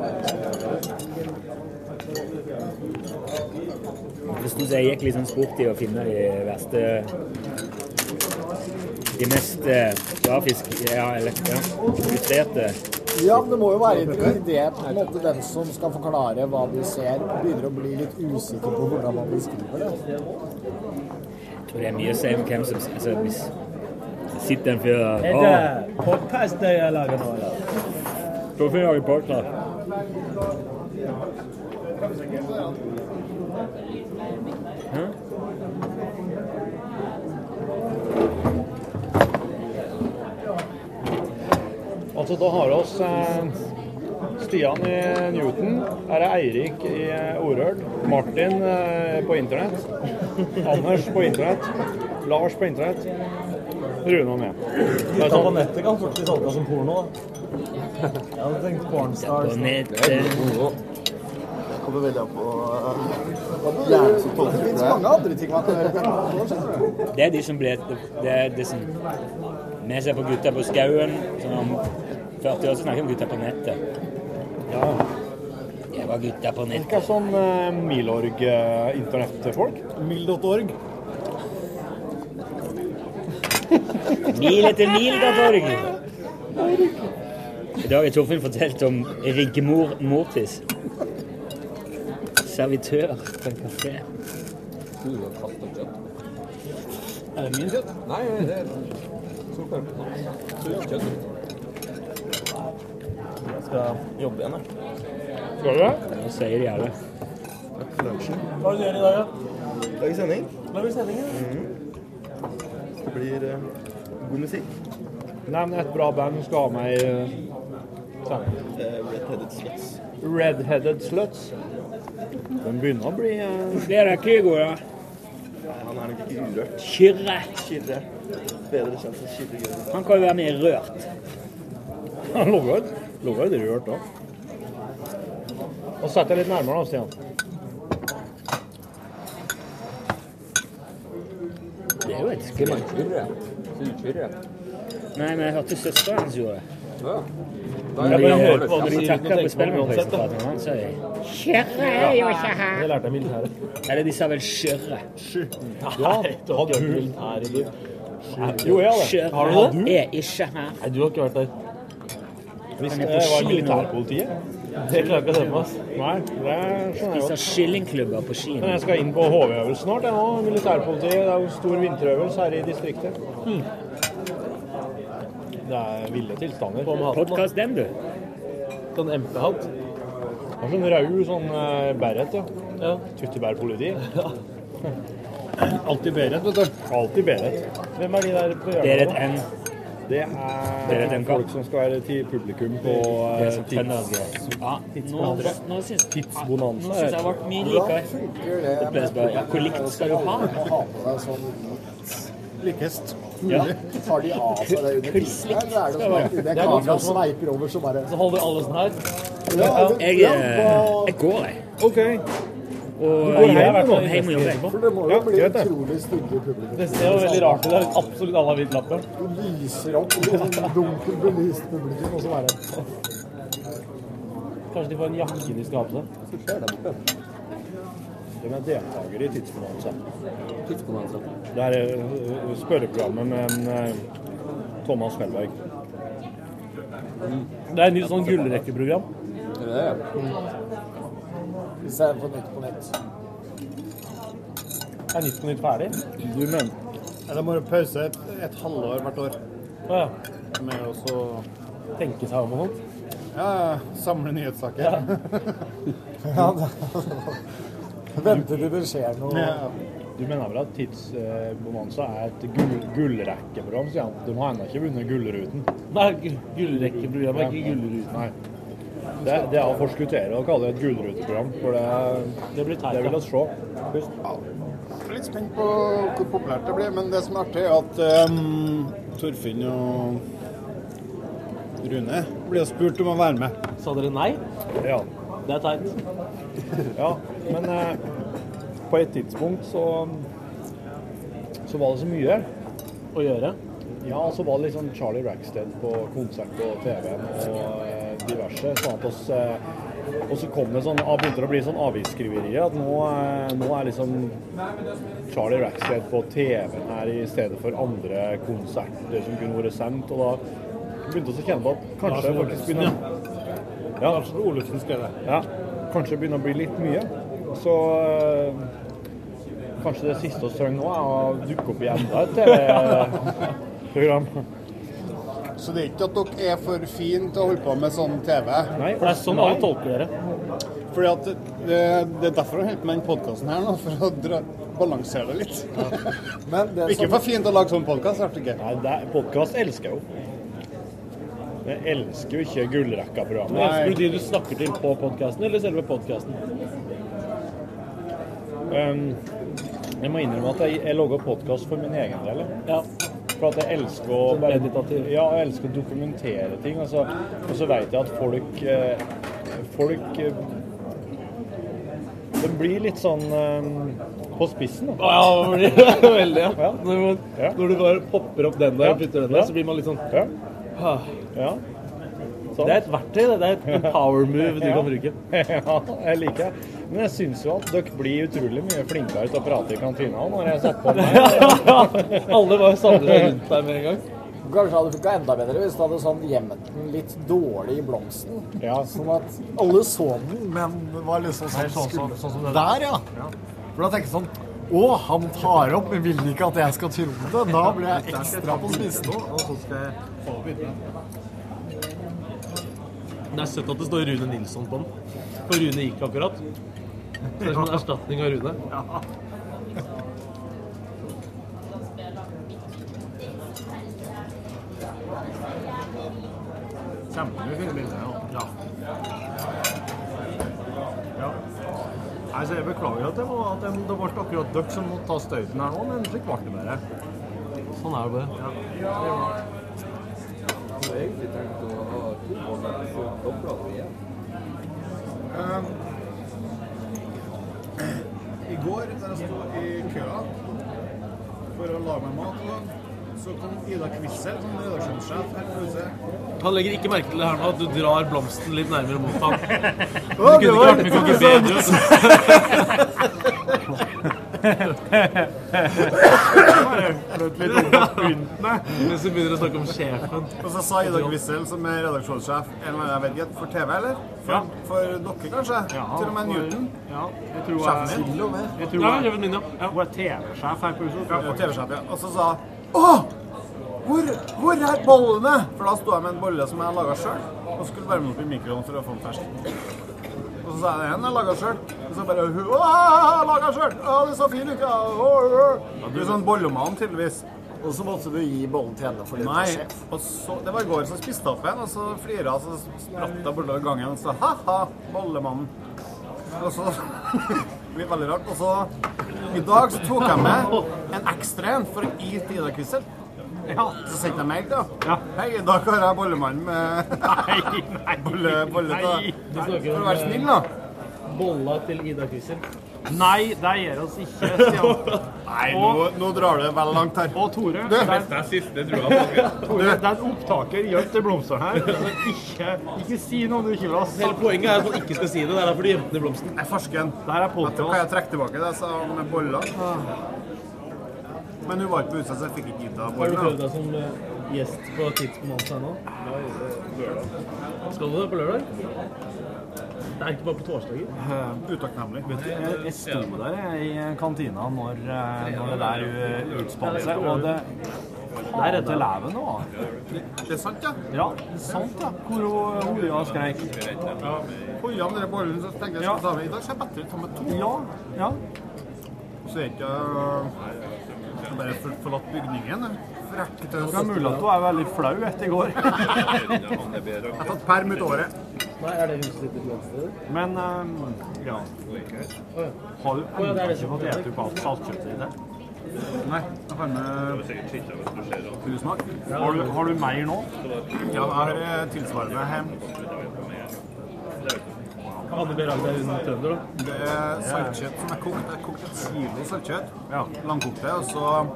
G: Jeg synes jeg gikk litt sånn sport i å finne de verste De mest eh, grafisk ja, eller, ja, illustrerte.
V: Ja, men det må jo være en idé på en måte den som skal forklare hva de ser, begynner å bli litt usikker på hvordan man beskriver det.
G: Jeg tror det er mye å si om hvem som altså, hvis, Sitter en fyr og
O: Er
G: Åh,
O: det podkast jeg lager nå, eller?
G: Hvorfor lager du podcast? Hæ?
A: Altså, da har oss eh, Stian i Newton, her er Eirik i eh, Orhøl, Martin eh, på internett, Anders på internett, Lars på internett, Rune og meg.
O: Gutta på nettet kan fort bli tolka som porno, da. Jeg hadde tenkt pornstars. da.
Q: Det kommer veldig an på
V: Det er jo- det finnes mange andre ting man kan gjøre. på skjønner du.
G: Det er de som ble det, det er de som Vi ser på gutta på skauen som om 40 år så snakker vi om gutta på nettet. Ja. Jeg var gutta på nettet.
A: Hva er sånn eh, Milorg-internettfolk? Mil.org?
G: Mil etter mil, da, Borg. I dag har Torfinn fortalt om Rigmor Mortis. Servitør på en kafé.
O: Er det min kjøtt? Nei, det er
Q: Jeg skal jobbe igjen, jeg.
G: Skal du det? Det sier de alle.
O: Hva er det du gjør i dag, da?
Q: Lager sending.
O: Lager sending, ja.
Q: Det blir eh, god musikk.
A: Nevn et bra band du skal ha eh, med i sendingen.
Q: Red-headed sluts.
A: Redheaded Sluts. Den begynner å bli eh,
G: Det er Kygo, ja.
Q: Nei, han er nok ikke urørt.
G: Kyrre.
Q: Kyrre. Bedre kjent som Kyrre Grønne.
G: Han kan jo være med i Rørt.
A: Han lå jo et- lå jo et rørt òg. Og sett deg litt nærmere, da, Stian.
G: Det er jo et skummelt. Nei, men jeg hørte søsteren hans gjorde det.
O: Ja.
G: Når de, når de takka på Spellemannprisen for at han vant, så er de Kjørre er jo ikke her.
A: Det lærte jeg militæret.
G: Eller de sa vel skjørre.
A: Ja, du hadde jo militær i liv.
G: Jo, jeg har det.
A: Skjørre
G: Har du det?
O: er ikke her. Nei, du har ikke vært der.
G: Han
A: Det
G: er på
A: var
G: ski nå.
A: militærpolitiet.
O: Det klarer jeg ikke å se på oss.
A: Nei, det skjønner jeg
G: Spiser
A: godt.
G: skillingklubber på ski.
A: Men jeg skal inn på Hmm. HV-øvelse snart, jeg nå. Militærpolitiet. Det er jo stor vinterøvelse her i distriktet. Det er ville tilstander.
G: Podcast den, du?
A: Den Sånn MP-hatt? Har sånn rød sånn eh, beret, ja. ja. Tyttebærpoliti. Alltid beret, vet du. Alltid beret. Hvem er de der på hjørnet?
G: Beret
A: da?
G: N.
A: Det er,
G: Beret N, hva?
A: folk som skal være til publikum på eh,
G: Det er sånn
A: tids...
G: Ja, nå, nå syns
A: Tidsbonanza.
G: nå syns jeg det ble mye likere. Opplevelse bare, ja, hvor likt skal du ha?
H: Ha på deg sånn litt likest.
G: Ja.
H: Tar de av seg det under tissen her, eller er det sånn at
G: Det er
H: det
G: godt,
H: kameraet
G: altså.
H: sveiper over, så bare
G: Så holder alle sånn her?
H: Ja,
G: Jeg,
H: ja,
G: eh, jeg går, jeg.
A: OK.
G: Og
H: går
G: jeg
H: hjem,
G: er
H: da.
G: hjemme og jobber etterpå.
H: For det må jo
G: Ja,
H: bli
G: greit, det.
H: utrolig stygge publikum.
G: Det ser jo veldig rart ut. Det er
H: absolutt alle har hvit lappe. Du lyser opp i sånn dunkelt belyst publikum, og så bare
A: Kanskje de får en jakke de skal ha på seg. De er deltakere i Tidsbonanza. Tidsbonanza. Det er eh, spørreprogrammet med en, eh, Thomas Felberg. Det er et nytt sånn gullrekkeprogram.
H: Mm. Hvis jeg får nytt på nett.
A: Er Nytt på Nytt ferdig? Du mener
V: Eller må du pause et, et halvår hvert år?
A: Ja, ja.
V: Med å så-
A: Tenke seg om og sånt?
V: Ja, ja, samle nyhetssaker.
H: Ja. Ja, Vente til det skjer noe.
A: Ja. Du mener vel at Tidsbonanza er et gull gullrekkeprogram, sier han. De har ennå ikke vunnet Gullruten. Nei, gullrekkeprogram
G: er ikke
A: Gullruten. Nei. Det, det er å forskuttere å kalle det et gullruteprogram, for det, det,
V: teit,
A: vil
V: da.
A: oss se.
V: Jeg er litt spent på hvor populært det blir, men det som er artig, er at um, Torfinn og Rune blir jo spurt om å være med.
A: Sa dere nei? Ja. Det er teit. ja, men eh, på et tidspunkt så, så var det så mye å gjøre. Ja, og så var det liksom Charlie Rackstead på konsert på TV-en og eh, diverse. sånn at oss, eh, Og så kom det sånn, ah, begynte det å bli sånn avisskriverier at nå, eh, nå er liksom Charlie Rackstead på TV-en her i stedet for andre konserter som kunne vært sendt. Og da begynte vi å kjenne på at kanskje
V: Lars Olufsen,
A: faktisk begynner ja. Lars Olufsen skrev det. Ja. Kanskje det begynner å bli litt mye. Så øh, kanskje det siste vi trenger nå, er å dukke opp i enda et eh, TV-program.
V: Så det er ikke at dere er for fine til å holde på med sånn TV?
A: Nei, for det er sånn alle tolker dere.
V: Fordi at det, det er derfor jeg holder på med den podkasten her nå, for å dra, balansere det litt. ikke
A: som-
V: for fint å lage sånn podkast, er det ikke?
A: Nei, det er- podcast elsker jeg jo. Jeg elsker jo ikke Gullrekka-programmet.
V: Elsker du
A: de du snakker til på podkasten, eller selve podkasten? Um, jeg må innrømme at jeg, jeg lager podkast for min egen del. jeg. For at jeg elsker å, bare, ja, jeg elsker å dokumentere ting. Og så, og så vet jeg at folk eh, Folk eh, Det blir litt sånn eh, på spissen. da.
K: Ja, det blir det veldig, ja.
A: Når, du bare popper opp den
K: der og putter den der, så blir
A: man litt sånn Ja. ja.
K: Det er et verktøy, det. Det er et power move du
A: Ja.
K: kan bruke.
A: Ja, jeg liker det. Men jeg syns jo at dere blir utrolig mye flinkere til å prate i kantina når jeg setter på meg. Alle bare
K: samler seg rundt
A: deg med en gang.
H: Kanskje hadde funka enda bedre hvis du hadde sånn gjemt den litt dårlig i blomsten. Sånn at alle så den, men det var liksom sånn, skummelt. Der, ja. For da tenker jeg sånn Å, han tar opp, men vil ikke at jeg skal tro det. Da blir jeg ekstra på spissen.
V: Og så skal jeg få bildet.
K: Det er søtt at det står Rune Nilsson på den. For Rune gikk akkurat. Så det er som en erstatning av Rune.
V: Kjempefine bilder, ja.
Q: Ja. Nei, så jeg beklager at det, var, at det, det ble akkurat dere som måtte ta støyten her nå, men slik ble det bare. Sånn er det bare. Ja.
V: Um, I går, da jeg sto i køa for å lage meg mat, og sånn, så kom Ida Kvissel som redaksjonssjef her på huset.
K: Han legger ikke merke til det her nå, at du drar blomsten litt nærmere mot ham. Du
V: Å,
K: kunne
V: det
K: ikke
V: var
K: vært med altså. kokke bedre. Men så begynner du å snakke om sjefen.
V: Og så sa Ida Kvissel, som er redaksjonssjef en eller annen, jeg vet ikke, for TV, eller? For, for dere, kanskje? Til og med
Q: for-
V: Newton?
Q: Ja, jeg tror
V: Sjefen
Q: jeg-
V: din? Til og med.
Q: Jeg tror
V: Ja,
Q: jeg-
V: sjefen
K: min, ja.
Q: Hun er TV-sjef her på huset.
V: Ja, TV-sjef, ja. Og så sa
Q: Åh!
V: Hvor, hvor er bollene? For da sto jeg med en bolle som jeg laga sjøl, og skulle varme den opp i mikroen for å få den fersk. Og så sa jeg den jeg laga sjøl. Og så bare «Åh, Laga sjøl! Å, det så fin ut! ja. Åh, åh». Du er sånn bollemann, tydeligvis. Og så måtte du gi bollen til henne for
W: litt
V: Nei,
W: av sjef.
V: og så, det var i går som spiste opp en, og så flira jeg, og så spratt jeg bortover gangen og sa ha-ha, bollemannen. Og så Det blir veldig rart. Og så I dag så tok jeg med en ekstra en for å gi til Ida Kvissel. Ja. Så sendte jeg mail, da. Hei, i dag har jeg bollemannen med Nei, nei, bolle, bolle
H: Nei, du
V: til deg.
H: snakker
V: For å
H: om,
V: være snill, da.
H: Bolla til Ida Kvissel.
V: Nei, det gjør oss ikke, Nei, nå, nå drar det vel langt her. Og Tore
A: Det er siste, tror jeg. Tore, det er en opptaker gjømt i blomster her. så Ikke, ikke si noe du ikke vil ha sagt.
V: Hele poenget
H: er at man ikke skal si det. Det er derfor du gjemte den i blomsten.
V: Nei, farsken. Vet du hva jeg trekker tilbake det jeg sa om boller? Men hun var ikke på utstedet, så jeg fikk ikke gitt henne
H: Har du prøvd
V: boller.
H: deg som eh, gjest på Tidsbonanza ennå? Skal du det på lørdag? Det er ikke bare på torsdager.
V: Eh, Utakknemlig.
K: Vet du, jeg, jeg sto der jeg, i kantina når, eh, når det der eh, utspant seg, og det
V: Der er
K: Fader
V: det.
K: leven nå.
V: Det er sant, ja. eh,
K: Ja, det er sant, ja. Hvor hun- hun ja skreik.
V: Hoia med de bollene, så tenkte jeg
K: Ja.
V: at ja. i dag ser jeg bedre ut som med to.
K: Ja, ja.
V: Og så er ikke jeg jeg bare for- forlatt bygningen. jeg. For jeg er ikke til å-
K: Det er mulig at hun er veldig flau etter i går.
V: Jeg har tatt perm ut året.
H: Nei, er det huset ditt i Blomster?
K: Men eh, ja. Har du
H: Å, ja, det er
K: ennå
H: det
K: ikke
H: som-
K: fått spise opp alt saltkjøttet i det?
V: Nei, jeg har med tullsmak.
K: Har du- har du mer nå?
V: Ja, jeg har eh, tilsvarende hjem.
H: Anne B. Ragde er hun trønder, da?
V: Det er saltkjøtt som er kokt. Jeg kokte et kilo saltkjøtt. Ja. Langkokte. Og så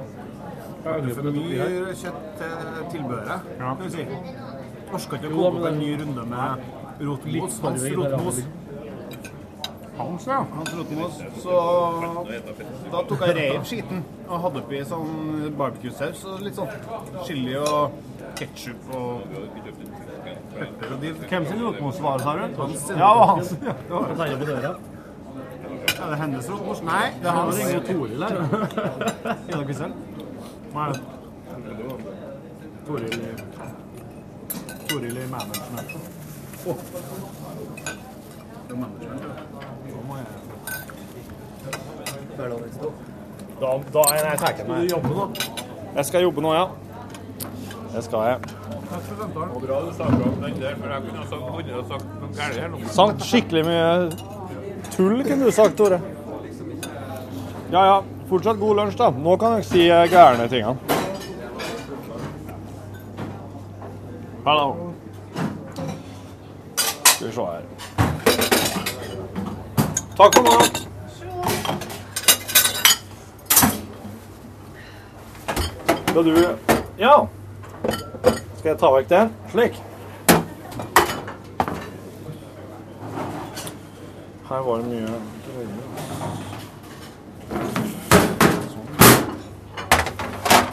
V: er det for mye kjøtt til tilbehøret, kan du si. Orsker ikke å
K: Jo, da,
V: koke opp
K: men
V: en ny
K: det-
V: runde med rotmos.
K: Litt
V: Hans
K: farge i det,
V: rotmos. Hans, ja. Hans rotmos. Så da tok jeg reiv skiten og hadde oppi sånn barbecue-saus og litt sånn chili og ketsjup og pepper og dill.
K: Hvem sin rotmos var det, sa du?
V: Hans sin.
K: Ja, det var hans. Ja, det var
V: Han
K: det.
V: pleier på døra. Er det hennes rotmos? Nei, det er hans.
K: Nå ringer Toril her. Ida Kvissel. Hva er det? Toril i Toril i management. Åh.
V: Det er management, ja.
K: Da må jeg
A: Da, da er jeg takker meg.
K: Skal du jobbe nå?
A: Jeg skal jobbe nå, ja. Det skal jeg.
O: Bra du snakket om den der, for jeg kunne ha sagt, kunne ha sagt noe gærent her nå.
A: Sagt skikkelig mye tull, kunne du sagt, Tore. Ja, ja. Fortsatt god lunsj, da. Nå kan dere si eh, gærne tingene. Hallo. Skal vi se her. Takk for nå. Skal du Ja. Skal jeg ta vekk den? Slik. Her var det mye greier.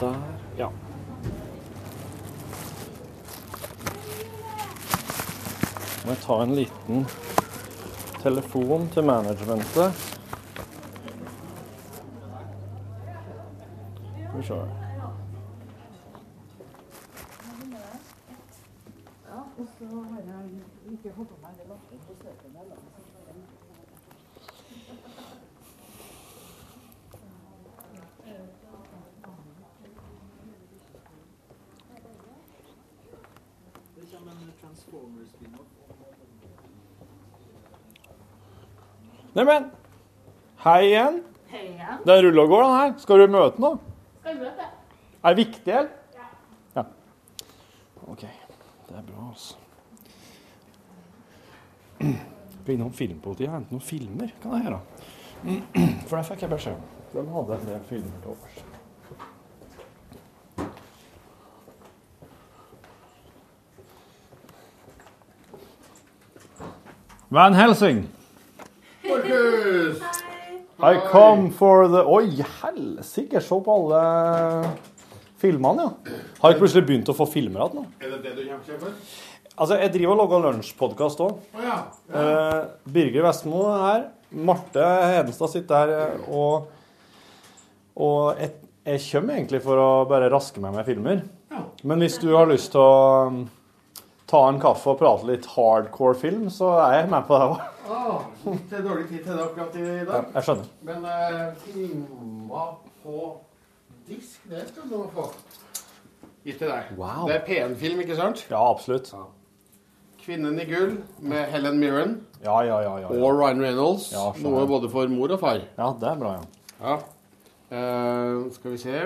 A: Sånn. Der. Ja. Må jeg ta en liten telefon til managementet. Skal vi se. Neimen, hei igjen.
E: Hei igjen.
A: Den ruller og går, den her. Skal du møte noe?
E: Skal vi møte?
A: Er det viktig, eller? Ja. OK. Det er bra, altså. Skal innom filmpolitiet og hente noen filmer, kan jeg gjøre. For det fikk jeg beskjed om. De hadde en del filmer til overs. Van Helsing,
O: Markus!
A: I come for the Oi, helsike! Se på alle filmene, ja. Har jeg plutselig begynt å få filmer igjen nå?
O: Er det det du kjemper for?
A: Altså, jeg driver og lager lunsjpodkast òg.
O: Å ja.
A: Eh, Birger Vestmo er her. Marte Hedenstad sitter her. eh, Og, og jeg, jeg kommer egentlig for å bare raske meg med filmer.
O: Ja.
A: Men hvis du har lyst til å um, ta en kaffe og prate litt hardcore film, så er jeg med på det òg.
V: Ah, det er dårlig tid til det akkurat i dag.
A: Ja, jeg skjønner.
V: Men eh, filma på disk, det skal du nå få. Gitt til deg.
A: Wow.
V: Det er P1-film, ikke sant?
A: Ja, absolutt.
V: Kvinnen i gull med Helen Mirren
A: Ja, ja, ja. ja,
V: og
A: ja.
V: Ryan Reynolds.
A: Ja, skjønner.
V: noe både for mor og far.
A: Ja, det er bra, ja.
V: Ja. Eh, skal vi se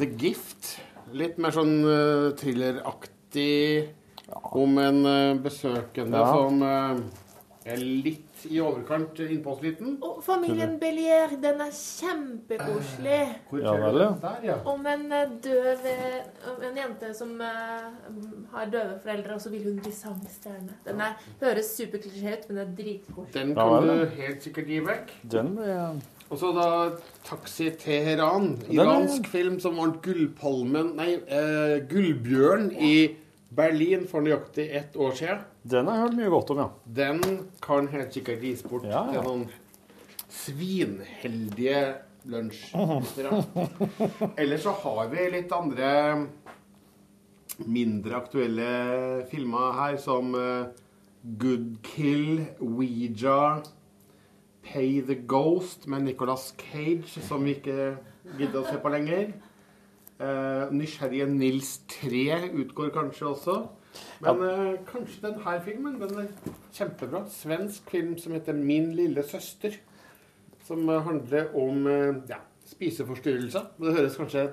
V: The Gift. Litt mer sånn eh, thrilleraktig om en eh, besøkende
A: Ja.
V: som eh, er litt i overkant innpåsliten.
Q: Og familien Bellier, den er kjempekoselig.
V: Hvor
A: Ja
V: ser du
A: vel, ja.
V: den Der, ja.
Q: Om en eh, døv eh, om En jente som eh, har døve foreldre, og så vil hun bli sangstjerne. Den er, høres superklisjé ut, men den er dritkoselig.
V: Den
A: Ja
V: kan
A: vel, ja.
V: du helt sikkert gi vekk.
A: Den blir jeg-
V: Og så da Taxi Teheran.
A: er-
V: Iransk film som vant Gullpalmen Nei, eh, Gullbjørn i Berlin for nøyaktig ett år siden.
A: Den har jeg hørt mye godt om, ja.
V: Den kan helt sikkert gis bort
A: Ja, ja.
V: til noen svinheldige lunsjlyttere. Ellers så har vi litt andre mindre aktuelle filmer her, som eh, Good Kill, Ouija, Pay the Ghost med Nicolas Cage, som vi ikke gidder å se på lenger. Eh, Nysgjerrige Nils 3 utgår kanskje også. Men eh, kanskje den her filmen. Den er kjempebra. Svensk film som heter 'Min lille søster'. Som eh, handler om eh, ja, spiseforstyrrelser. Det høres kanskje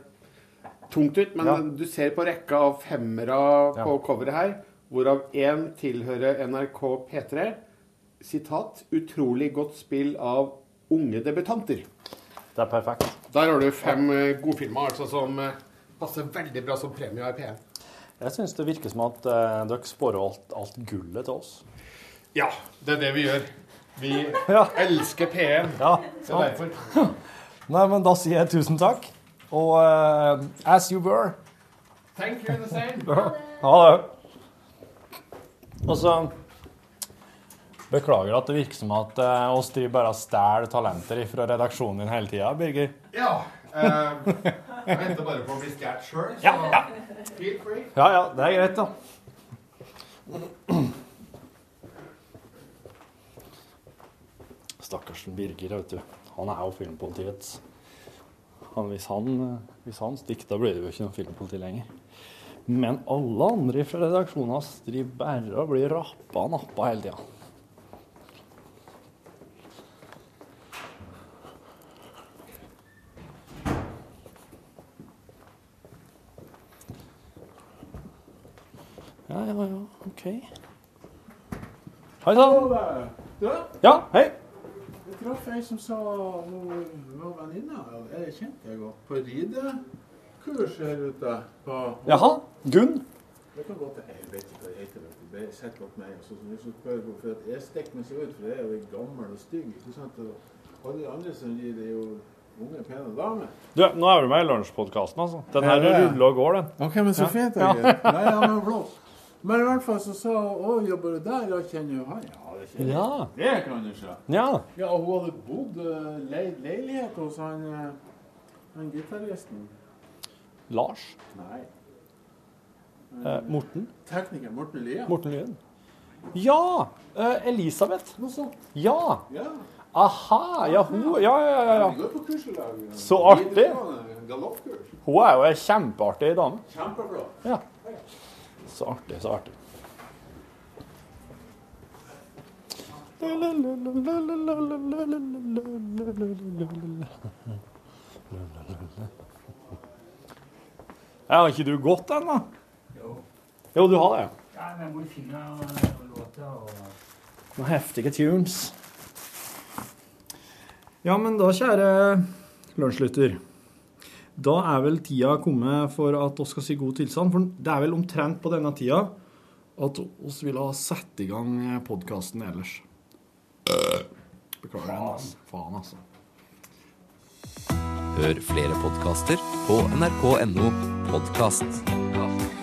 V: tungt ut, men
A: Ja.
V: du ser på rekka av femmere på coveret her, hvorav én tilhører NRK P3. Sitat 'utrolig godt spill av unge debutanter'.
A: Det er perfekt.
V: Der har du fem eh, godfilmer altså, som eh, passer veldig bra som premie i P1.
A: Jeg syns det virker som at eh, dere sporer alt, alt gullet til oss.
V: Ja, det er det vi gjør. Vi elsker P1. det er
A: sant.
V: derfor.
A: Nei, men da sier jeg tusen takk. Og eh, as you were.
V: Thank you the same.
A: Ha det. Og så Beklager at det virker som at eh, oss driver bare og stjeler talenter fra redaksjonen din hele tida, Birger.
V: Ja. eh, jeg venter bare på å bli stjålet sjøl, så feel free.
A: Ja ja, det er greit, da. Stakkarsen Birger, vet du. Han er jo filmpolitiets han, hvis, han, eh, hvis han stikker, da blir det jo ikke noe filmpoliti lenger. Men alle andre fra redaksjonen hans driver bare og blir rappa og nappa hele tida. Ja, ja, ja. OK. Hei sann.
O: Du,
A: Ja, hei.
O: jeg traff ei som sa hun var venninne av Jeg kjente jeg går på ridekurs her ute. På,
A: Jaha. Gunn?
O: Det kan godt hende. Jeg vet ikke hva det heter. vet du. Det er sett godt meg. og Så, så, så spør hun, for at jeg stikker meg så ut, for jeg er jo gammel og stygg. ikke sant? Og alle de andre som rir, det er jo unge, pene damer.
A: Du, nå er du med i lunsjpodkasten, altså. Den her
O: Ja, ja.
A: ruller og går, den.
O: OK, men så
A: Ja.
O: fint.
A: Ja.
O: Ja. Nei, ja, men flott. Men i hvert fall så sa hun Å, jobber du der? Ja, kjenner du han? Ja, det kjenner jeg.
A: Ja.
O: Det kan du se.
A: Ja.
O: Ja, og hun hadde bodd eh, leid leilighet hos han, eh, han gitaristen.
A: Lars?
O: Nei.
A: Eh, Morten?
O: Tekniker Morten Lien.
A: Morten Lyen? Ja! Eh, Elisabeth.
O: Noe sånt.
A: Ja!
O: Ja.
A: Aha! Ja, hun Ja, ja, ja. ja.
O: Vi går på kurs i lag. eh,
A: Så artig.
O: videregående, eh, Galoppkurs.
A: Hun er jo ei kjempeartig dame.
O: Kjempeflott.
A: Ja. Så artig, så artig. Ja, har ikke du gått ennå?
G: Jo.
A: Jo, du har det, ja.
G: Ja, men jeg må jo finne eh, låter og
A: Noen heftige tunes. Ja, men da, kjære lunsjlytter, da er vel tida kommet for at vi skal si god tilstand. For det er vel omtrent på denne tida at oss vil ha satt i gang podkasten ellers. Beklager den, altså. Faen, altså.
H: Hør flere podkaster på nrk.no podkast.